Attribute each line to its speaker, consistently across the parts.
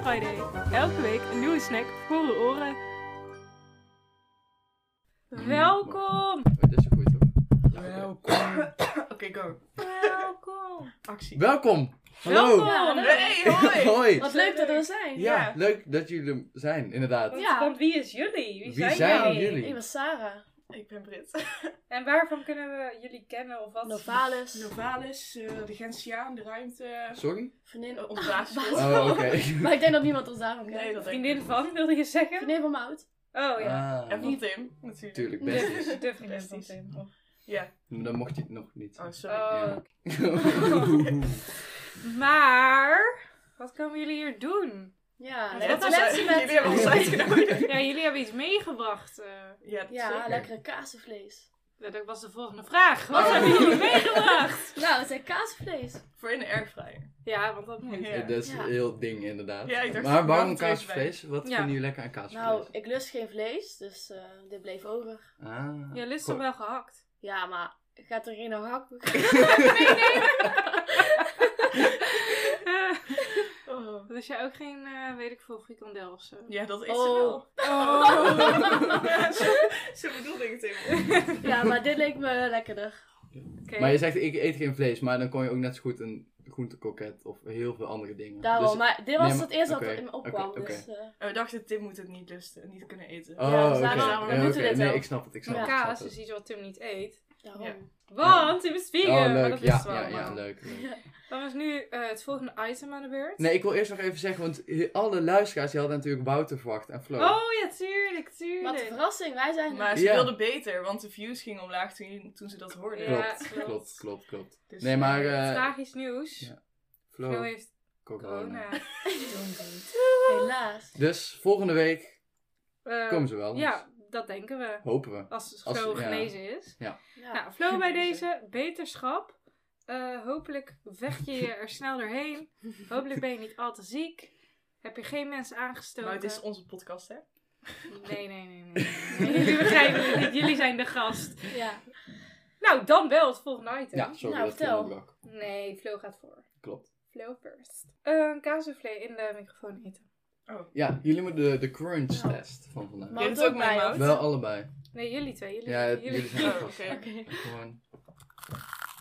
Speaker 1: Friday. Elke week een nieuwe snack voor de oren. Welkom!
Speaker 2: Dit Oh, is een goeie toch?
Speaker 3: Welkom.
Speaker 4: Oké, go.
Speaker 1: Welkom!
Speaker 4: Actie.
Speaker 2: Welkom! Hallo!
Speaker 1: Welkom. Ja, hallo.
Speaker 4: Hey, hoi!
Speaker 2: Hoi!
Speaker 1: Wat leuk dat we er zijn.
Speaker 2: Ja,
Speaker 4: Ja.
Speaker 2: leuk dat jullie er zijn, inderdaad.
Speaker 1: Ja.
Speaker 5: Want wie is jullie? Wie,
Speaker 2: Wie zijn
Speaker 5: jullie?
Speaker 2: jullie?
Speaker 1: Ik ben Sarah.
Speaker 4: Ik ben Brit.
Speaker 5: En waarvan kunnen we jullie kennen of wat?
Speaker 1: Dus Novalis.
Speaker 4: Novalis, eh, de Gentiaan, de ruimte.
Speaker 2: Sorry?
Speaker 1: Vriendin.
Speaker 4: eh, Ontblaasvol.
Speaker 2: Oh, oké.
Speaker 1: Maar ik denk dat niemand ons daarvan kent.
Speaker 4: Nee, dat denk ik.
Speaker 5: Vriendin van, wilde je zeggen?
Speaker 1: Vriendin van Mout.
Speaker 5: Oh ja.
Speaker 4: En
Speaker 2: Ah,
Speaker 4: van Tim, natuurlijk.
Speaker 2: natuurlijk, best is.
Speaker 5: De, de vriendin van
Speaker 4: Besties.
Speaker 5: Tim.
Speaker 4: Ja.
Speaker 2: Dat mocht je nog niet.
Speaker 4: Oh, sorry.
Speaker 5: Oh,
Speaker 2: Ja.
Speaker 5: oké. Maar, wat komen jullie hier doen?
Speaker 1: Ja,
Speaker 4: Net
Speaker 1: dat
Speaker 4: als-
Speaker 1: laatste
Speaker 4: Jullie hebben ons uitgenodigd.
Speaker 5: Ja, jullie hebben iets meegebracht. eh.
Speaker 4: Ja, dat
Speaker 1: Ja,
Speaker 4: zeker.
Speaker 1: lekkere kaasvlees.
Speaker 5: dat was de volgende vraag.
Speaker 2: Oh.
Speaker 5: Wat hebben jullie meegebracht?
Speaker 1: Nou, het zijn kaasvlees.
Speaker 4: Voor in de airfryer.
Speaker 5: Ja, want dat moet.
Speaker 2: Ja,
Speaker 4: Ja.
Speaker 2: Dat is
Speaker 1: Ja.
Speaker 2: een heel ding, inderdaad.
Speaker 4: Ja, ik dacht,
Speaker 2: maar
Speaker 4: waarom
Speaker 2: waarom
Speaker 4: twee
Speaker 2: kaasvlees? Wat
Speaker 5: Ja.
Speaker 2: vinden jullie lekker aan kaasvlees?
Speaker 1: Nou, ik lust geen vlees, dus eh, dit bleef over.
Speaker 2: ah.
Speaker 5: Ja, lust
Speaker 2: Cool.
Speaker 5: wel gehakt.
Speaker 1: Ja, maar gaat er geen nog hak?
Speaker 5: Eh,
Speaker 4: Oh.
Speaker 5: dus jij ook geen, eh, weet ik veel, frikandel of zo?
Speaker 4: Ja, dat is
Speaker 1: Oh.
Speaker 4: ze wel.
Speaker 5: Oh.
Speaker 4: Ja, zo, zo bedoelde ik het helemaal.
Speaker 1: ja, maar dit leek me lekkerder.
Speaker 5: Oké.
Speaker 2: Maar je zegt, ik eet geen vlees, maar dan kon je ook net zo goed een groentekroket of heel veel andere dingen.
Speaker 1: Daarom,
Speaker 2: Dus-
Speaker 1: maar dit was
Speaker 2: nee, maar-
Speaker 1: het eerste
Speaker 2: oké,
Speaker 1: wat in me opkwam.
Speaker 2: oké, oké.
Speaker 1: dus, eh,
Speaker 4: En we dachten, Tim moet het niet lusten, niet kunnen eten.
Speaker 2: Oh,
Speaker 1: Ja, dus
Speaker 2: oké.
Speaker 1: daarom-
Speaker 2: Ja,
Speaker 1: we moeten
Speaker 2: oké.
Speaker 1: dit
Speaker 2: Nee,
Speaker 1: wel.
Speaker 2: ik snap het, ik snap
Speaker 5: Maar
Speaker 2: het. ik snap
Speaker 5: kaas
Speaker 2: het.
Speaker 5: is iets wat Tim niet eet.
Speaker 1: daarom.
Speaker 4: Ja.
Speaker 5: Want Tim is vegan.
Speaker 2: Oh,
Speaker 5: maar
Speaker 2: leuk.
Speaker 5: dat
Speaker 2: Ja,
Speaker 5: wist wel
Speaker 2: ja, ja,
Speaker 5: allemaal.
Speaker 2: leuk. leuk.
Speaker 5: Dan is nu eh, het volgende item aan de beurt.
Speaker 2: Nee, ik wil eerst nog even zeggen, want he- alle luisteraars die hadden natuurlijk Wouter verwacht en Flo.
Speaker 5: Oh ja, tuurlijk,
Speaker 1: Wat een
Speaker 5: tuurlijk.
Speaker 1: verrassing, wij zijn...
Speaker 4: Maar ze
Speaker 2: Ja.
Speaker 4: wilde beter, want de views gingen omlaag toen, toen ze dat hoorden.
Speaker 5: Ja.
Speaker 2: klopt,
Speaker 5: klopt.
Speaker 2: klopt, klopt, klopt.
Speaker 4: Dus,
Speaker 2: Nee, maar eh,
Speaker 5: Tragisch nieuws.
Speaker 2: ja. Oh. nou.
Speaker 5: Flo
Speaker 2: Flo,
Speaker 5: heeft
Speaker 2: corona.
Speaker 5: corona.
Speaker 1: Helaas.
Speaker 2: Dus volgende week
Speaker 5: Eh,
Speaker 2: komen ze wel. eens.
Speaker 5: Ja, dat denken we.
Speaker 2: Hopen we.
Speaker 5: Als
Speaker 2: Als-
Speaker 5: Flo
Speaker 2: ja.
Speaker 5: genezen is.
Speaker 1: Ja.
Speaker 5: Nou, Flo bij deze. Beterschap. Eh, hopelijk vecht je je er snel doorheen. Hopelijk ben je niet al te ziek. Heb je geen mensen aangestoken.
Speaker 4: Maar het is onze podcast, hè?
Speaker 5: Nee, nee, nee. nee, nee. Jullie begrijpen het niet. Jullie zijn de gast.
Speaker 1: ja.
Speaker 5: Nou, dan wel het volgende item.
Speaker 2: Ja, sorry
Speaker 1: Nou,
Speaker 2: dat
Speaker 1: vertel.
Speaker 2: ik blok.
Speaker 5: Nee, Flo gaat voor.
Speaker 2: Klopt.
Speaker 5: Flo first. Een kaasvlees in de microfoon eten.
Speaker 2: Ja, jullie moeten de, de crunch
Speaker 1: Ja.
Speaker 2: test van vandaag.
Speaker 1: Maar-
Speaker 4: Jij doet het ook
Speaker 1: bij
Speaker 4: mee,
Speaker 1: ons.
Speaker 4: Mout?
Speaker 2: Wel allebei.
Speaker 5: Nee, jullie twee. Jullie,
Speaker 2: Ja,
Speaker 5: jullie.
Speaker 2: jullie zijn
Speaker 4: Oh,
Speaker 2: vast.
Speaker 4: oké.
Speaker 2: Gewoon.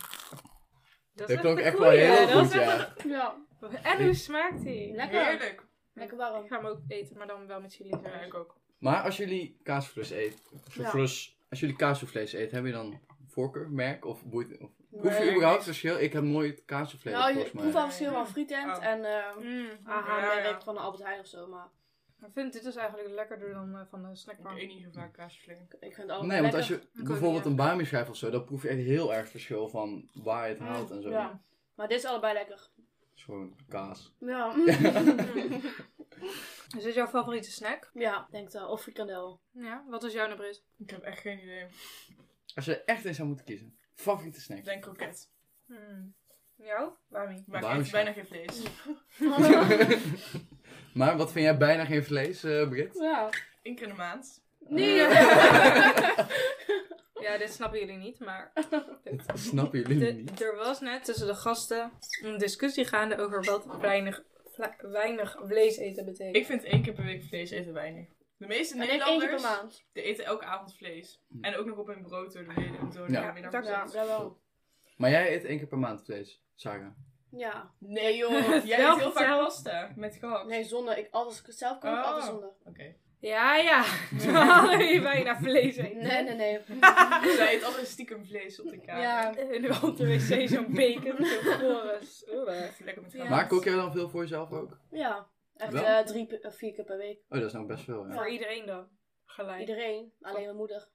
Speaker 5: Dat,
Speaker 2: Dat
Speaker 5: is
Speaker 2: klonk
Speaker 5: een
Speaker 2: echt wel
Speaker 5: goeie.
Speaker 2: heel
Speaker 5: Dat
Speaker 2: goed,
Speaker 5: is echt
Speaker 2: ja.
Speaker 1: ja.
Speaker 5: een- En hoe smaakt
Speaker 4: Nou.
Speaker 5: die?
Speaker 1: Lekker.
Speaker 4: Heerlijk.
Speaker 1: Lekker
Speaker 5: Ik
Speaker 1: warm.
Speaker 5: ga hem ook eten, maar dan wel met jullie.
Speaker 4: Ja, ik ook.
Speaker 2: Maar als jullie kaasvlees eten,
Speaker 1: Ja.
Speaker 2: souffles- als jullie kaasvlees eten, hebben je dan voorkeur, merk of boeit? Of, Hoef je
Speaker 4: Nee.
Speaker 2: überhaupt verschil? Ik heb nooit kaasvlees
Speaker 1: Nou, je
Speaker 2: volgens mij.
Speaker 1: proeft al verschil van frietent
Speaker 4: Oh.
Speaker 1: en ehm
Speaker 5: Mm,
Speaker 1: ah,
Speaker 4: Ja,
Speaker 1: merk
Speaker 4: ja.
Speaker 1: van de Albert Heijn of zo, maar
Speaker 5: Ik vind dit dus eigenlijk lekkerder dan eh, van de
Speaker 4: Ik
Speaker 5: snackbar.
Speaker 4: eet niet zo vaak kaasvlees.
Speaker 1: ik vind het allemaal
Speaker 2: Nee, want als
Speaker 1: lekker.
Speaker 2: je bijvoorbeeld een bami schrijft of zo, dan proef je echt heel erg verschil van waar je het
Speaker 5: Mm,
Speaker 2: haalt en zo.
Speaker 1: Ja. Maar dit is allebei lekker.
Speaker 2: Het is gewoon kaas.
Speaker 1: Ja,
Speaker 5: Is dit jouw favoriete snack?
Speaker 1: ja denk dat. Of frikandel.
Speaker 5: Ja, wat is jouw nummer is?
Speaker 4: Ik heb echt geen idee.
Speaker 2: Als je er echt in zou moeten kiezen, favoriete snack.
Speaker 4: Ik denk kroket.
Speaker 5: Mm. Jou? Waarmee?
Speaker 4: Maar
Speaker 2: Waarom
Speaker 4: ik eet bijna geen vlees.
Speaker 2: maar wat vind jij bijna geen vlees, eh, Brit?
Speaker 1: ja.
Speaker 4: Eén keer in de maand.
Speaker 1: Nee.
Speaker 5: Ja, dit snappen jullie niet, maar
Speaker 2: Dat snappen jullie
Speaker 5: De-
Speaker 2: niet.
Speaker 5: er was net tussen de gasten een discussie gaande over wat weinig, vla- weinig vlees eten betekent.
Speaker 4: Ik vind één keer per week vlees eten weinig. De meeste
Speaker 1: En ik één keer per
Speaker 4: Nederlanders
Speaker 1: maand.
Speaker 4: die eten elke avond vlees. En ook nog op hun brood door de hele en zo.
Speaker 2: Hm. Ja.
Speaker 4: Ja,
Speaker 5: dat
Speaker 1: Ja,
Speaker 4: middag.
Speaker 1: dat wel.
Speaker 2: Maar jij eet één keer per maand vlees, Sarah.
Speaker 1: Ja.
Speaker 4: Nee joh, jij
Speaker 5: Wel
Speaker 4: eet heel vaak
Speaker 5: vertel.
Speaker 4: pasta met gehakt.
Speaker 1: Nee, zonder. Ik, als ik het zelf kook,
Speaker 4: Oh.
Speaker 1: altijd zonder.
Speaker 4: Oké.
Speaker 5: Ja, ja. Dan wil je bijna vlees eten.
Speaker 1: Nee, nee, nee.
Speaker 4: Zij eet altijd stiekem vlees op de kamer.
Speaker 1: ja.
Speaker 5: En nu op de wc zo'n bacon, zo'n chorus. Oeh.
Speaker 4: Even lekker met
Speaker 1: Ja.
Speaker 4: gehakt.
Speaker 2: Maar kook jij dan veel voor jezelf ook?
Speaker 1: Ja. Echt
Speaker 2: Wel?
Speaker 1: eh, drie, pe- eh, vier keer per week.
Speaker 2: Oh, dat is nou best veel, ja.
Speaker 5: Voor iedereen dan. Gelijk.
Speaker 1: Iedereen. Alleen mijn moeder.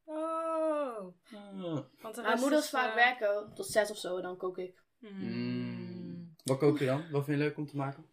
Speaker 5: Oh.
Speaker 2: Ah.
Speaker 5: Want de
Speaker 1: Mijn
Speaker 5: rest
Speaker 1: moeder
Speaker 5: is,
Speaker 1: is vaak
Speaker 5: eh,
Speaker 1: werken tot zes of zo en dan kook ik.
Speaker 2: Hmm.
Speaker 5: Hmm.
Speaker 2: Mm. Wat kook je dan? Wat vind je leuk om te maken?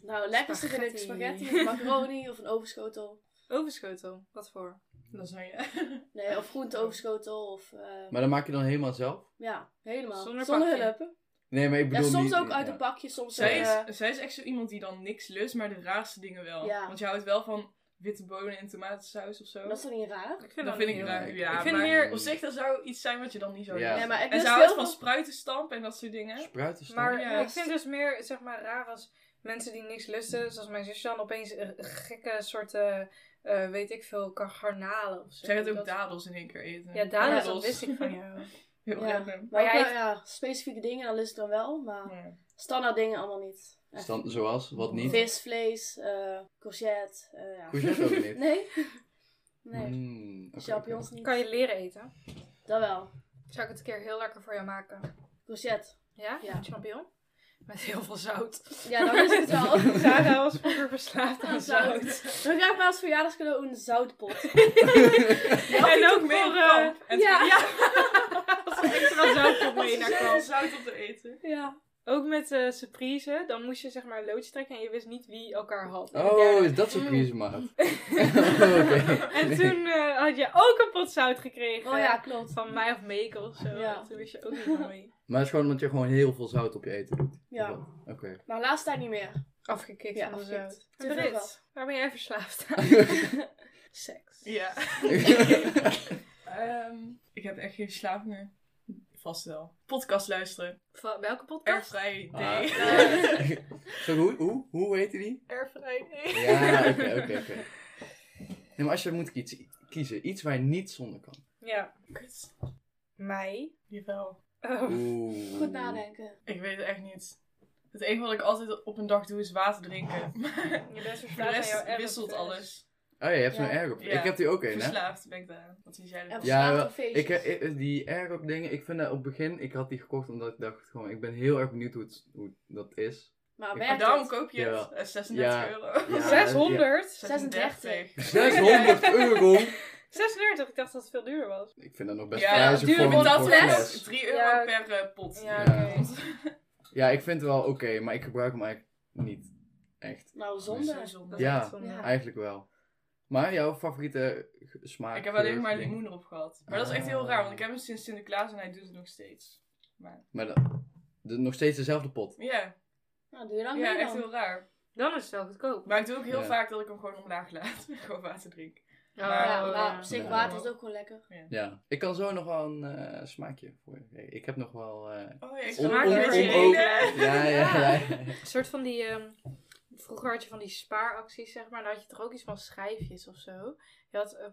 Speaker 1: Nou, het lekkerste vind ik
Speaker 5: Spaghetti.
Speaker 1: spaghetti, macaroni of een overschotel.
Speaker 5: Overschotel. Wat voor?
Speaker 4: Lasagne.
Speaker 1: Nee, of groente overschotel of... eh,
Speaker 2: Maar dan maak je dan helemaal zelf?
Speaker 1: ja, helemaal.
Speaker 5: Zonder
Speaker 1: Zonder,
Speaker 5: pakje.
Speaker 1: hulp.
Speaker 2: Nee, maar ik
Speaker 1: Ja,
Speaker 2: bedoel
Speaker 1: soms
Speaker 2: niet-
Speaker 1: ook uit
Speaker 2: ja.
Speaker 1: een pakje, soms...
Speaker 4: Zij
Speaker 1: eh,
Speaker 4: is, zij is echt zo iemand die dan niks lust, maar de raarste dingen wel.
Speaker 1: Ja.
Speaker 4: Want je houdt wel van witte bonen en tomatensaus of zo.
Speaker 1: dat is toch niet raar?
Speaker 5: Ik vind
Speaker 4: dat
Speaker 5: dat
Speaker 4: vind
Speaker 5: niet
Speaker 4: ik
Speaker 5: heel-
Speaker 2: raar.
Speaker 4: leuk.
Speaker 2: leuk.
Speaker 4: Ja,
Speaker 5: Ik vind
Speaker 4: maar
Speaker 5: meer-
Speaker 4: op zich, dat zou iets zijn wat je dan niet zou
Speaker 2: Ja.
Speaker 4: doen.
Speaker 1: Nee, maar
Speaker 4: En
Speaker 1: ik lust
Speaker 4: ze houdt
Speaker 1: heel
Speaker 4: van
Speaker 1: veel...
Speaker 4: spruitenstamp en dat soort dingen.
Speaker 2: Spruitenstamp?
Speaker 5: Maar
Speaker 4: Ja,
Speaker 5: ja, ik
Speaker 4: juist.
Speaker 5: vind het dus meer, zeg maar, raar als mensen die niks lusten, zoals mijn zusje dan, opeens eh, gekke soorten, eh, weet ik veel, kar- garnalen of zo.
Speaker 4: Zij gaat ook
Speaker 5: Dat-
Speaker 4: dadels in één keer eten.
Speaker 5: Ja, dadels,
Speaker 1: Ja.
Speaker 5: dat wist ik van jou.
Speaker 4: Heel
Speaker 1: Ja.
Speaker 4: random.
Speaker 1: Maar
Speaker 5: Maar
Speaker 1: ook
Speaker 5: jij-
Speaker 1: wel, ja, specifieke dingen, dan lust ik dan wel, maar
Speaker 4: Ja.
Speaker 1: standaard dingen allemaal niet. Echt.
Speaker 2: Stand, zoals, wat niet.
Speaker 1: Vis, vlees, eh, courgette. eh, ja.
Speaker 2: Courgette ook niet.
Speaker 1: Nee? Nee.
Speaker 2: Mm, oké, oké.
Speaker 1: Champignons niet.
Speaker 5: Kan je leren eten?
Speaker 1: Dat wel.
Speaker 5: Zou ik het een keer heel lekker voor jou maken?
Speaker 1: Courgette.
Speaker 5: Ja?
Speaker 1: Ja.
Speaker 5: Een champignon? Met heel veel zout.
Speaker 1: Ja, dan is het wel.
Speaker 5: Sarah was vroeger verslaafd aan
Speaker 1: Aan
Speaker 5: zout.
Speaker 1: zout. Dan krijg ik maar als verjaardagscadeau een zoutpot.
Speaker 5: En ook
Speaker 4: mee
Speaker 5: voor...
Speaker 4: op
Speaker 5: eh,
Speaker 4: kamp. En
Speaker 5: ja.
Speaker 4: toen-
Speaker 5: ja. Als er extra zout op mee
Speaker 4: Ze
Speaker 5: naar
Speaker 4: zijn
Speaker 5: kamp.
Speaker 4: zout op te eten.
Speaker 1: Ja.
Speaker 5: Ook met eh surprise, dan moest je zeg maar een loodje trekken en je wist niet wie elkaar had. En de
Speaker 2: Oh,
Speaker 5: derde.
Speaker 2: is dat surprise, maat? Oké.
Speaker 5: En toen eh, had je ook een pot zout gekregen.
Speaker 1: Oh ja, klopt.
Speaker 5: Van mij of Mekel of zo.
Speaker 1: Ja.
Speaker 5: Toen wist je ook niet van wie.
Speaker 2: Maar het is gewoon omdat je gewoon heel veel zout op je eten doet.
Speaker 1: Ja.
Speaker 2: Of wat? Oké.
Speaker 1: Maar laatst tijd niet meer.
Speaker 5: Afgekikt
Speaker 1: Ja,
Speaker 5: van de
Speaker 1: afgekikt.
Speaker 5: zout.
Speaker 1: Te veel
Speaker 5: Brits,
Speaker 1: wel.
Speaker 5: waar ben jij verslaafd aan? Seks.
Speaker 4: Ja.
Speaker 2: Ah,
Speaker 4: Ehm, ik heb echt geen slaap meer. Vast wel. Podcast luisteren.
Speaker 5: Van welke podcast?
Speaker 4: Airfry
Speaker 2: Ah,
Speaker 4: day.
Speaker 2: ja. Zo, hoe, hoe, hoe heette die?
Speaker 4: Airfry day.
Speaker 2: Ja, oké, oké, oké. Nee, maar als je moet kiezen, kiezen, iets waar je niet zonder kan.
Speaker 5: Ja.
Speaker 4: Kut.
Speaker 5: Mij.
Speaker 4: Jawel.
Speaker 5: Oh.
Speaker 2: Oeh.
Speaker 1: Goed nadenken.
Speaker 4: Ik weet het echt niet. Het enige wat ik altijd op een dag doe is water drinken.
Speaker 5: Je bent
Speaker 4: Voor de
Speaker 5: verslaafd aan
Speaker 4: rest
Speaker 5: jouw erf.
Speaker 4: wisselt alles.
Speaker 2: Oh ja, je hebt
Speaker 1: Ja.
Speaker 2: zo'n airop.
Speaker 4: Ja.
Speaker 2: Ik heb die ook een, hè?
Speaker 4: Verslaafd ben ik daar. Wat is jij
Speaker 1: En
Speaker 4: ervan?
Speaker 2: Ja,
Speaker 1: verslaafd
Speaker 2: wel.
Speaker 1: aan feestjes.
Speaker 2: Ik heb ik- die airop dingen, ik vind dat op het begin, ik had die gekocht omdat ik dacht gewoon, ik ben heel erg benieuwd hoe, het, hoe dat is.
Speaker 1: Maar
Speaker 2: ik-
Speaker 4: Maar
Speaker 1: werkt
Speaker 4: daarom
Speaker 1: het?
Speaker 4: koop je het.
Speaker 2: Ja.
Speaker 4: Eh, 36
Speaker 2: Ja.
Speaker 4: euro.
Speaker 2: Ja,
Speaker 5: 600?
Speaker 1: 36.
Speaker 2: 600 euro!
Speaker 5: 36, ik dacht dat het veel duurder was.
Speaker 2: Ik vind dat nog best
Speaker 4: Ja,
Speaker 2: prijzig
Speaker 5: duur
Speaker 2: voor
Speaker 5: met
Speaker 2: een
Speaker 5: dat
Speaker 2: voor
Speaker 5: fles.
Speaker 2: fles.
Speaker 4: 3 euro
Speaker 5: Ja.
Speaker 4: per eh, pot.
Speaker 5: Ja,
Speaker 2: Ja.
Speaker 5: oké.
Speaker 2: Ja, ik vind het wel oké, maar ik gebruik hem eigenlijk niet echt.
Speaker 1: Nou,
Speaker 4: Zo
Speaker 1: zonde.
Speaker 4: zonde.
Speaker 5: Dat is
Speaker 2: Ja.
Speaker 5: echt eh, zonde.
Speaker 1: Ja.
Speaker 2: Eigenlijk wel. Maar jouw favoriete g- smaak?
Speaker 4: Ik heb alleen
Speaker 2: geur,
Speaker 4: maar
Speaker 2: ding?
Speaker 4: limoen erop gehad. Maar dat is echt
Speaker 2: Ah.
Speaker 4: heel raar, want ik heb hem sinds Sinterklaas en hij doet het nog steeds. Maar
Speaker 2: Maar dat- de- nog steeds dezelfde pot.
Speaker 4: ja,
Speaker 1: Nou, doe je lang
Speaker 4: ja
Speaker 1: mee
Speaker 4: echt
Speaker 1: dan.
Speaker 4: heel raar.
Speaker 5: Dan is het wel goedkoop.
Speaker 4: Maar ik doe ook heel
Speaker 2: Ja.
Speaker 4: vaak dat ik hem gewoon omlaag laat. gewoon water drink.
Speaker 1: Ja,
Speaker 4: Oh,
Speaker 1: maar op zich
Speaker 2: Ja.
Speaker 1: water is ook gewoon lekker.
Speaker 2: Ja. Ik kan zo nog wel een eh, smaakje voor je geven. Ik heb nog wel... eh,
Speaker 4: Oh ja, ik
Speaker 2: Om-
Speaker 4: smaak
Speaker 5: om-
Speaker 4: er
Speaker 5: om-
Speaker 4: een
Speaker 5: om-
Speaker 4: hele.
Speaker 2: Ja, ja, ja.
Speaker 5: Een soort van die. ehm, vroeger had je van die spaaracties, zeg maar. Dan had je toch ook iets van schijfjes of zo. Je had. eh,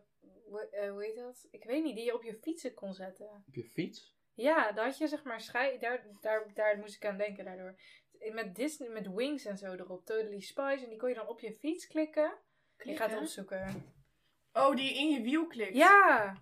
Speaker 5: hoe, eh, hoe heet dat? Ik weet niet, die je op je fietsen kon zetten.
Speaker 2: Op je fiets?
Speaker 5: Ja, daar had je zeg maar schijf. Daar, daar, daar moest ik aan denken daardoor. Met Disney, met Wings en zo erop. Totally Spice. En die kon je dan op je fiets klikken. Je gaat het opzoeken.
Speaker 4: Oh, die in je wiel klikt.
Speaker 5: Ja!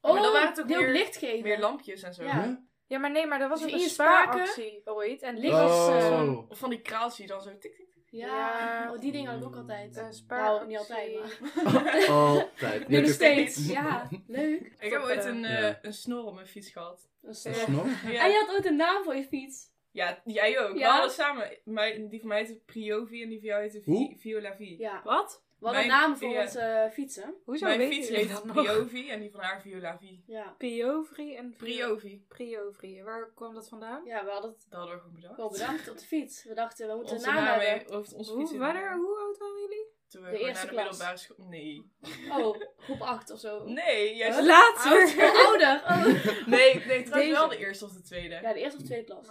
Speaker 1: Oh,
Speaker 4: Maar dan waren het ook
Speaker 1: die ook
Speaker 4: meer-
Speaker 1: licht geven.
Speaker 4: Meer lampjes en zo.
Speaker 1: Ja.
Speaker 2: Huh?
Speaker 5: Ja, maar nee, maar dat was
Speaker 1: Dus
Speaker 5: ook een
Speaker 1: in je spaken?
Speaker 5: spaaractie ooit. En
Speaker 1: Ligt als,
Speaker 5: eh,
Speaker 1: ehm,
Speaker 2: Oh.
Speaker 4: Of van die kraals die dan zo tik tik. tik.
Speaker 1: Ja,
Speaker 5: Ja.
Speaker 1: Oh, die dingen had ik ook altijd.
Speaker 5: een spaaractie.
Speaker 1: nou, niet altijd, maar...
Speaker 2: Altijd.
Speaker 1: Nu nog
Speaker 2: Natuurlijk.
Speaker 1: steeds. Ja, leuk.
Speaker 4: Ik heb ooit een, eh,
Speaker 2: Ja.
Speaker 4: een snor op mijn fiets gehad.
Speaker 1: Dat is
Speaker 2: Een
Speaker 1: echt-
Speaker 2: snor?
Speaker 1: En je
Speaker 4: Ja,
Speaker 1: had ook een naam voor je fiets.
Speaker 4: ja jij ook.
Speaker 1: Ah, Ja.
Speaker 4: We hadden samen, mijn- die van mij heette Priovi en die van jou heette Vi-
Speaker 2: Hoe?
Speaker 4: Viola Vi.
Speaker 1: Ja.
Speaker 5: Wat?
Speaker 1: We hadden
Speaker 4: Mijn-
Speaker 1: namen voor
Speaker 4: ja.
Speaker 1: onze eh, fietsen.
Speaker 5: Hoezo
Speaker 4: Mijn
Speaker 5: weet
Speaker 4: fiets
Speaker 5: jullie
Speaker 4: heet
Speaker 5: dat nog?
Speaker 4: Priovi en die van haar Viola Vi.
Speaker 1: Ja.
Speaker 5: Priovri en
Speaker 4: Priovi.
Speaker 5: Priovri. Waar kwam dat vandaan?
Speaker 1: ja, we hadden het
Speaker 4: Dat hadden we gewoon bedacht.
Speaker 1: wel bedacht op de fiets. We dachten, we moeten
Speaker 4: Onze
Speaker 1: een naam
Speaker 4: naam
Speaker 1: hebben.
Speaker 4: heeft onze fiets
Speaker 5: Hoe,
Speaker 4: in
Speaker 5: wanneer,
Speaker 4: naam.
Speaker 5: hoe oud waren jullie?
Speaker 4: Toen we
Speaker 1: De
Speaker 4: gewoon
Speaker 1: eerste
Speaker 4: naar de
Speaker 1: klas.
Speaker 4: middelbare school... Nee.
Speaker 1: Oh, groep 8 of zo.
Speaker 4: Nee, jij
Speaker 1: Huh?
Speaker 4: zegt-
Speaker 5: Later!
Speaker 1: Oh, ouder. Oh.
Speaker 4: Nee, nee trouwens
Speaker 5: Deze.
Speaker 4: wel de eerste of de tweede.
Speaker 1: Ja, de eerste of tweede klas.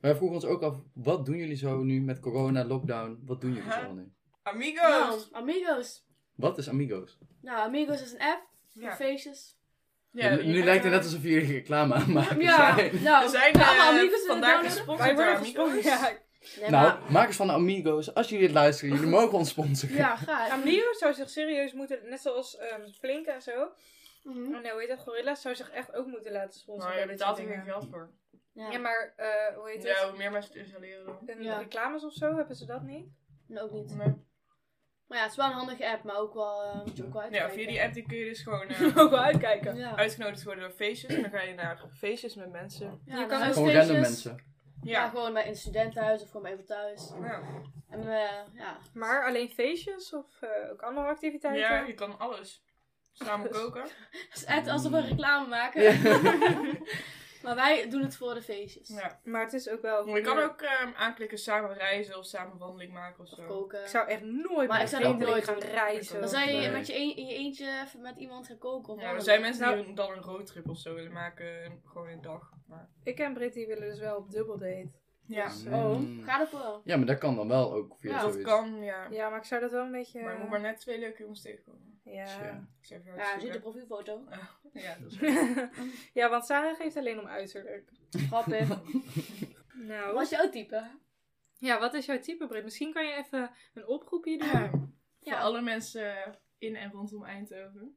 Speaker 2: Wij vroegen ons ook af, wat doen jullie zo nu met corona, lockdown? Wat doen jullie zo nu?
Speaker 4: Amigos!
Speaker 1: Nou, amigos.
Speaker 2: Wat is Amigos?
Speaker 1: Nou, amigos is een app. voor
Speaker 4: Ja.
Speaker 1: Feestjes.
Speaker 4: Ja,
Speaker 2: nu nu
Speaker 4: je-
Speaker 2: lijkt het net alsof jullie reclame aanmaken
Speaker 1: Ja,
Speaker 2: zijn.
Speaker 1: nou.
Speaker 4: We zijn
Speaker 1: allemaal
Speaker 4: eh,
Speaker 1: amigos in
Speaker 4: vandaag
Speaker 1: het downloaden.
Speaker 4: gesponsord door Amigos.
Speaker 5: Ja,
Speaker 1: Nee, maar-
Speaker 2: Nou, makers van de Amigos, als jullie dit luisteren, jullie mogen ons sponsoren.
Speaker 1: Ja, graag.
Speaker 5: Amigos zou zich serieus moeten, net zoals ehm Flink en zo,
Speaker 1: Mhm.
Speaker 5: oh nee, hoe heet dat, Gorilla's, zou zich echt ook moeten laten sponsoren.
Speaker 4: Maar je
Speaker 5: bij dit
Speaker 4: betaalt
Speaker 5: soort
Speaker 4: er geen
Speaker 5: dingen.
Speaker 4: geld voor.
Speaker 1: Ja.
Speaker 5: Ja, maar eh, hoe heet het?
Speaker 4: Ja, hoe meer mensen het installeren dan.
Speaker 5: Een
Speaker 1: Ja.
Speaker 5: reclames of zo, hebben ze dat niet?
Speaker 1: Nee, ook niet.
Speaker 4: Maar-
Speaker 1: Maar ja, het is wel een handige app, maar ook wel, eh, moet je ook wel
Speaker 4: Ja,
Speaker 1: uitkijken.
Speaker 4: via die app die kun je dus gewoon eh,
Speaker 5: Ook wel uitkijken.
Speaker 1: Ja.
Speaker 4: uitgenodigd worden door feestjes. En dan ga je naar feestjes met mensen.
Speaker 1: Ja,
Speaker 5: Je kan
Speaker 1: naar
Speaker 5: ook
Speaker 2: Gewoon
Speaker 1: huisfeestjes.
Speaker 2: random mensen.
Speaker 1: Ja.
Speaker 4: Ja.
Speaker 1: gewoon bij een studentenhuis of gewoon bij even thuis.
Speaker 4: Ja.
Speaker 1: En eh, ja.
Speaker 5: Maar alleen feestjes of eh, ook andere activiteiten?
Speaker 4: ja, je kan alles. Samen koken.
Speaker 1: Het is echt alsof
Speaker 2: Hmm.
Speaker 1: we reclame maken. maar wij doen het voor de feestjes.
Speaker 4: Ja.
Speaker 5: Maar het is ook wel...
Speaker 4: Maar je kan ook ehm, aanklikken samen reizen of samen wandeling maken of
Speaker 1: Of
Speaker 4: zo.
Speaker 1: koken.
Speaker 5: Ik zou echt nooit
Speaker 1: Maar
Speaker 5: met
Speaker 1: ik zou dat ook
Speaker 5: vrienden
Speaker 1: nooit
Speaker 5: gaan
Speaker 1: doen.
Speaker 5: reizen.
Speaker 1: Dan zou je
Speaker 2: Nee.
Speaker 1: met je een- in je eentje even met iemand gaan koken. Of
Speaker 4: Ja, er
Speaker 1: wat
Speaker 4: zijn
Speaker 1: dan
Speaker 4: mensen
Speaker 5: Nou-
Speaker 4: die dan een roadtrip of zo willen maken, en gewoon een dag. Maar
Speaker 5: Ik en Britt die willen dus wel op dubbeldate.
Speaker 4: Ja,
Speaker 5: Dus, eh,
Speaker 1: Oh,
Speaker 2: Mm.
Speaker 1: ga dat wel.
Speaker 2: Ja, maar dat kan dan wel ook via
Speaker 1: Ja,
Speaker 4: dat
Speaker 2: zoiets.
Speaker 4: kan, ja.
Speaker 5: ja, maar ik zou dat wel een beetje... eh,
Speaker 4: Maar je moet maar net twee leuke jongens tegenkomen.
Speaker 5: Ja.
Speaker 2: Tja.
Speaker 4: Ik zou even
Speaker 1: Ja,
Speaker 4: hard
Speaker 1: er zit een
Speaker 4: zoeken.
Speaker 1: profielfoto.
Speaker 4: Ja, dat is
Speaker 5: ja, want Sarah geeft alleen om uiterlijk.
Speaker 1: Grappig.
Speaker 5: Nou.
Speaker 1: Wat is jouw type?
Speaker 5: Ja, wat is jouw type, Britt? Misschien kan je even een oproepje doen.
Speaker 4: Ja, voor
Speaker 1: Ja.
Speaker 4: alle mensen in en rondom Eindhoven.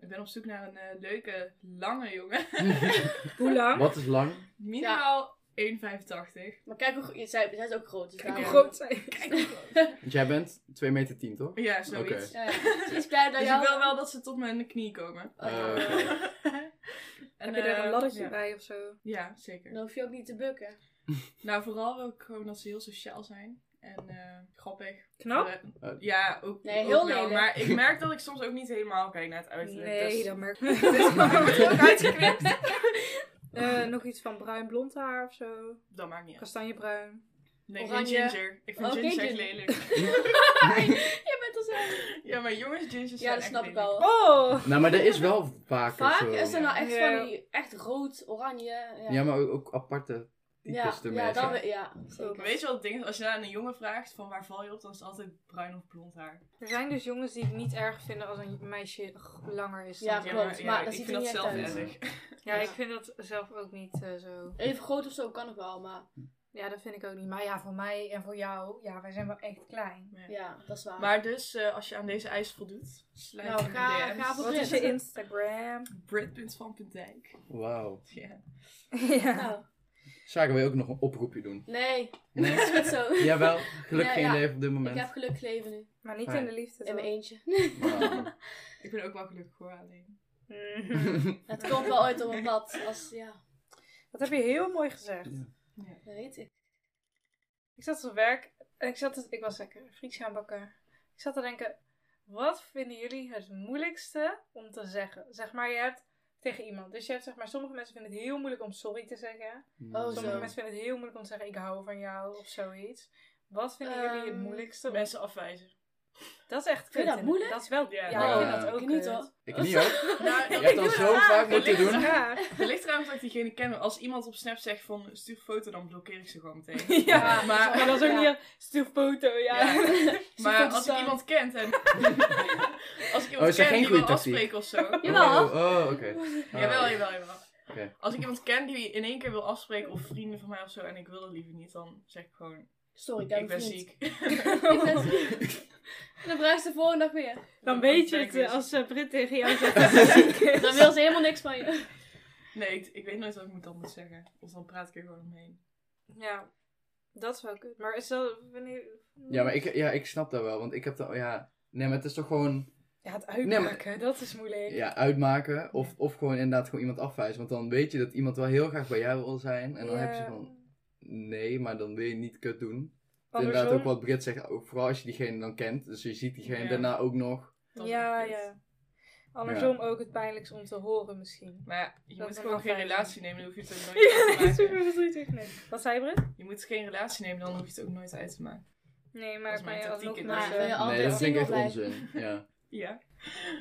Speaker 4: Ik ben op zoek naar een eh, leuke, lange jongen.
Speaker 5: Hoe lang?
Speaker 2: Wat is lang?
Speaker 4: Minimaal 1,85.
Speaker 1: Maar kijk hoe gro- je- zij, zij is ook groot. Dus
Speaker 4: Kijk
Speaker 5: Hoe
Speaker 1: daarom-
Speaker 5: groot zijn?
Speaker 4: Kijk hoe groot.
Speaker 2: Want jij bent 2 meter 10, toch?
Speaker 4: Ja, zoiets.
Speaker 2: Oké.
Speaker 1: Ja, ja. Ze is iets kleiner dan
Speaker 4: Dus
Speaker 1: jou.
Speaker 4: ik wil wel dat ze tot mijn knie komen.
Speaker 1: Oh, ja.
Speaker 2: Eh, oké.
Speaker 4: En,
Speaker 5: Heb je er
Speaker 4: eh,
Speaker 5: een laddertje
Speaker 4: ja.
Speaker 5: bij of zo?
Speaker 4: Ja, zeker.
Speaker 1: Dan hoef je ook niet te bukken.
Speaker 4: Nou, vooral wil ik gewoon dat ze heel sociaal zijn. En eh, grappig.
Speaker 5: Knap?
Speaker 4: Eh, ja, ook,
Speaker 1: Nou? Nee,
Speaker 4: ook wel.
Speaker 1: heel lelijk.
Speaker 4: Maar ik merk dat ik soms ook niet helemaal kijk naar het uiterlijk.
Speaker 5: Nee,
Speaker 4: dus-
Speaker 5: dat merk
Speaker 4: dus dan wordt het ook
Speaker 5: ik.
Speaker 4: uitgeknipt.
Speaker 5: Eh, nog iets van bruin blond haar of zo?
Speaker 4: Dat maakt niet uit.
Speaker 5: Kastanjebruin.
Speaker 4: Nee, geen
Speaker 1: Oranje.
Speaker 4: ginger. Ik vind
Speaker 1: Oh,
Speaker 4: ginger echt
Speaker 1: ginger.
Speaker 4: lelijk.
Speaker 1: Je bent al zo.
Speaker 4: Ja, maar jongens, gingers
Speaker 1: Ja,
Speaker 4: zijn
Speaker 1: dat
Speaker 4: echt
Speaker 1: snap ik
Speaker 4: lelijk.
Speaker 1: al.
Speaker 5: Oh!
Speaker 2: Nou, maar dat is wel vaker
Speaker 1: Vaak
Speaker 2: zo.
Speaker 1: is er nou echt
Speaker 5: Ja.
Speaker 1: van die echt rood, oranje. Ja,
Speaker 2: Ja, maar ook, ook aparte
Speaker 1: ja,
Speaker 2: types ermee.
Speaker 1: ja, dan, we- ja zeker.
Speaker 4: Maar Weet je wat het ding is? Als je aan een jongen vraagt van waar val je op, dan is het altijd bruin of blond haar.
Speaker 5: Er zijn dus jongens die het niet erg vinden als een meisje g- langer is
Speaker 1: Ja,
Speaker 5: dan
Speaker 1: klopt.
Speaker 5: jij.
Speaker 1: maar dat
Speaker 4: ik
Speaker 1: ziet
Speaker 4: vind dat
Speaker 1: er niet
Speaker 4: zelf
Speaker 1: echt
Speaker 2: uit.
Speaker 4: erg.
Speaker 5: Ja, ik vind dat zelf ook niet eh, zo.
Speaker 1: Even groot of zo kan ik wel, maar
Speaker 5: Ja, dat vind ik ook niet. Maar ja, voor mij en voor jou, ja, wij zijn wel echt klein.
Speaker 1: ja, dat is waar.
Speaker 4: Maar dus, eh, als je aan deze eisen voldoet, sluit
Speaker 1: Nou,
Speaker 4: in de
Speaker 1: ga-
Speaker 4: DM's.
Speaker 1: ga voor
Speaker 5: Wat is je
Speaker 1: Brit.
Speaker 5: Instagram?
Speaker 4: Brit.vanpendijk.
Speaker 2: Wauw.
Speaker 4: Ja.
Speaker 5: ja.
Speaker 1: Nou,
Speaker 2: Zagen wil je ook nog een oproepje doen?
Speaker 1: nee,
Speaker 2: Nee?
Speaker 1: dat is goed zo.
Speaker 2: Jawel, gelukkig
Speaker 1: Nee, ja.
Speaker 2: geen leven op dit
Speaker 1: Ik
Speaker 2: moment.
Speaker 1: heb gelukkig leven nu.
Speaker 5: Maar niet
Speaker 2: Fijn.
Speaker 5: in de liefde.
Speaker 1: In
Speaker 5: toch?
Speaker 1: mijn eentje.
Speaker 2: Wauw.
Speaker 4: Ik ben ook wel gelukkig hoor, alleen.
Speaker 5: Mhm.
Speaker 1: Het komt wel ooit op een pad. Als, ja,
Speaker 5: Dat heb je heel mooi gezegd.
Speaker 2: Ja.
Speaker 1: dat weet ik.
Speaker 5: Ik zat op werk en ik, zat, ik was lekker frieks gaan bakken. Ik zat te denken, wat vinden jullie het moeilijkste om te zeggen? Zeg maar, je hebt tegen iemand. Dus je hebt, zeg maar, sommige mensen vinden het heel moeilijk om sorry te zeggen.
Speaker 2: Mm.
Speaker 1: Oh,
Speaker 5: Sommige
Speaker 1: zo.
Speaker 5: mensen vinden het heel moeilijk om te zeggen, ik hou van jou of zoiets. Wat vinden jullie het
Speaker 1: Ehm,
Speaker 5: moeilijkste? om-
Speaker 4: Mensen afwijzen.
Speaker 5: Dat is echt
Speaker 1: je dat
Speaker 5: kut.
Speaker 1: moeilijk?
Speaker 5: Dat is wel,
Speaker 4: Ja,
Speaker 5: ja, ik
Speaker 2: ja.
Speaker 5: vind dat ook eh,
Speaker 1: Ik niet
Speaker 5: kut.
Speaker 1: hoor.
Speaker 2: Ik niet ook.
Speaker 4: Nou,
Speaker 2: Je hebt al zo vaak moeten
Speaker 4: Gelukkig.
Speaker 2: doen.
Speaker 5: Ja.
Speaker 4: Het ligt trouwens dat ik diegene ken. Als iemand op Snap zegt van stuur een foto, dan blokkeer ik ze gewoon meteen.
Speaker 5: Ja,
Speaker 4: maar-
Speaker 5: maar dat is ook
Speaker 1: Ja.
Speaker 5: niet... een- Stuur foto,
Speaker 4: Ja.
Speaker 5: ja.
Speaker 4: Maar
Speaker 1: foto's
Speaker 4: als ik
Speaker 1: staan.
Speaker 4: iemand kent en... als ik
Speaker 2: Oh, is
Speaker 4: iemand
Speaker 2: dat
Speaker 4: ken
Speaker 2: geen
Speaker 4: die
Speaker 2: goede
Speaker 4: wil
Speaker 2: tactiek?
Speaker 4: afspreken of zo.
Speaker 1: Jawel.
Speaker 2: Oh, oh, oké. Ah.
Speaker 4: Jawel, jawel, jawel.
Speaker 2: Oké.
Speaker 4: Als ik iemand ken die in één keer wil afspreken of vrienden van mij of zo en ik wil dat liever niet, dan zeg ik gewoon,
Speaker 1: Sorry,
Speaker 4: ik,
Speaker 1: ik heb
Speaker 4: ben
Speaker 1: een vriend.
Speaker 4: ziek.
Speaker 1: Ik ben ziek. En dan vraagt ze de volgende dag weer.
Speaker 5: Dan weet je
Speaker 4: Ik
Speaker 5: het
Speaker 4: ben
Speaker 5: eh,
Speaker 4: ziek.
Speaker 5: als eh, Brit tegen jou zegt dat ze ziek is.
Speaker 1: Dan wil ze helemaal niks van je.
Speaker 4: Nee, ik, ik weet nooit wat ik moet dan moet zeggen. Of dan praat ik er gewoon omheen.
Speaker 5: Ja, dat is wel kut. Maar is dat... Wanneer...
Speaker 2: Ja, maar ik, ja, ik snap dat wel, want ik heb dat, ja... Nee, maar het is toch gewoon
Speaker 5: Ja, het
Speaker 2: Nee,
Speaker 5: uitmaken,
Speaker 2: maar-
Speaker 5: dat is moeilijk.
Speaker 2: ja, uitmaken of, of gewoon inderdaad gewoon iemand afwijzen. Want dan weet je dat iemand wel heel graag bij jou wil zijn. En dan heb je
Speaker 5: Ja.
Speaker 2: van, nee, maar dan wil je niet kut doen. Inderdaad
Speaker 5: Andersom.
Speaker 2: ook wat Brit zegt, ook vooral als je diegene dan kent. Dus je ziet diegene
Speaker 4: Ja.
Speaker 2: daarna ook nog.
Speaker 4: Dat
Speaker 5: ja,
Speaker 4: is kut.
Speaker 5: ja. Andersom ook het pijnlijkst om te horen misschien.
Speaker 4: Maar ja, je
Speaker 5: Dat
Speaker 4: moet
Speaker 5: is
Speaker 4: gewoon geen
Speaker 5: afwijzen.
Speaker 4: relatie nemen, dan hoef je het ook
Speaker 5: Ja,
Speaker 4: nooit uit te maken.
Speaker 5: verdrietig. Nee. Wat zei Brit?
Speaker 4: Je moet geen relatie nemen, dan hoef je het ook nooit uit te maken.
Speaker 5: Nee,
Speaker 4: Dat
Speaker 5: maar
Speaker 4: is
Speaker 5: dan kan
Speaker 4: mijn
Speaker 5: je
Speaker 4: tactiek
Speaker 5: alsnog
Speaker 4: inderdaad.
Speaker 5: nog...
Speaker 1: Maar,
Speaker 5: eh,
Speaker 1: eh,
Speaker 2: nee, dat vind ik echt
Speaker 1: single
Speaker 2: onzin. Ja.
Speaker 4: Ja.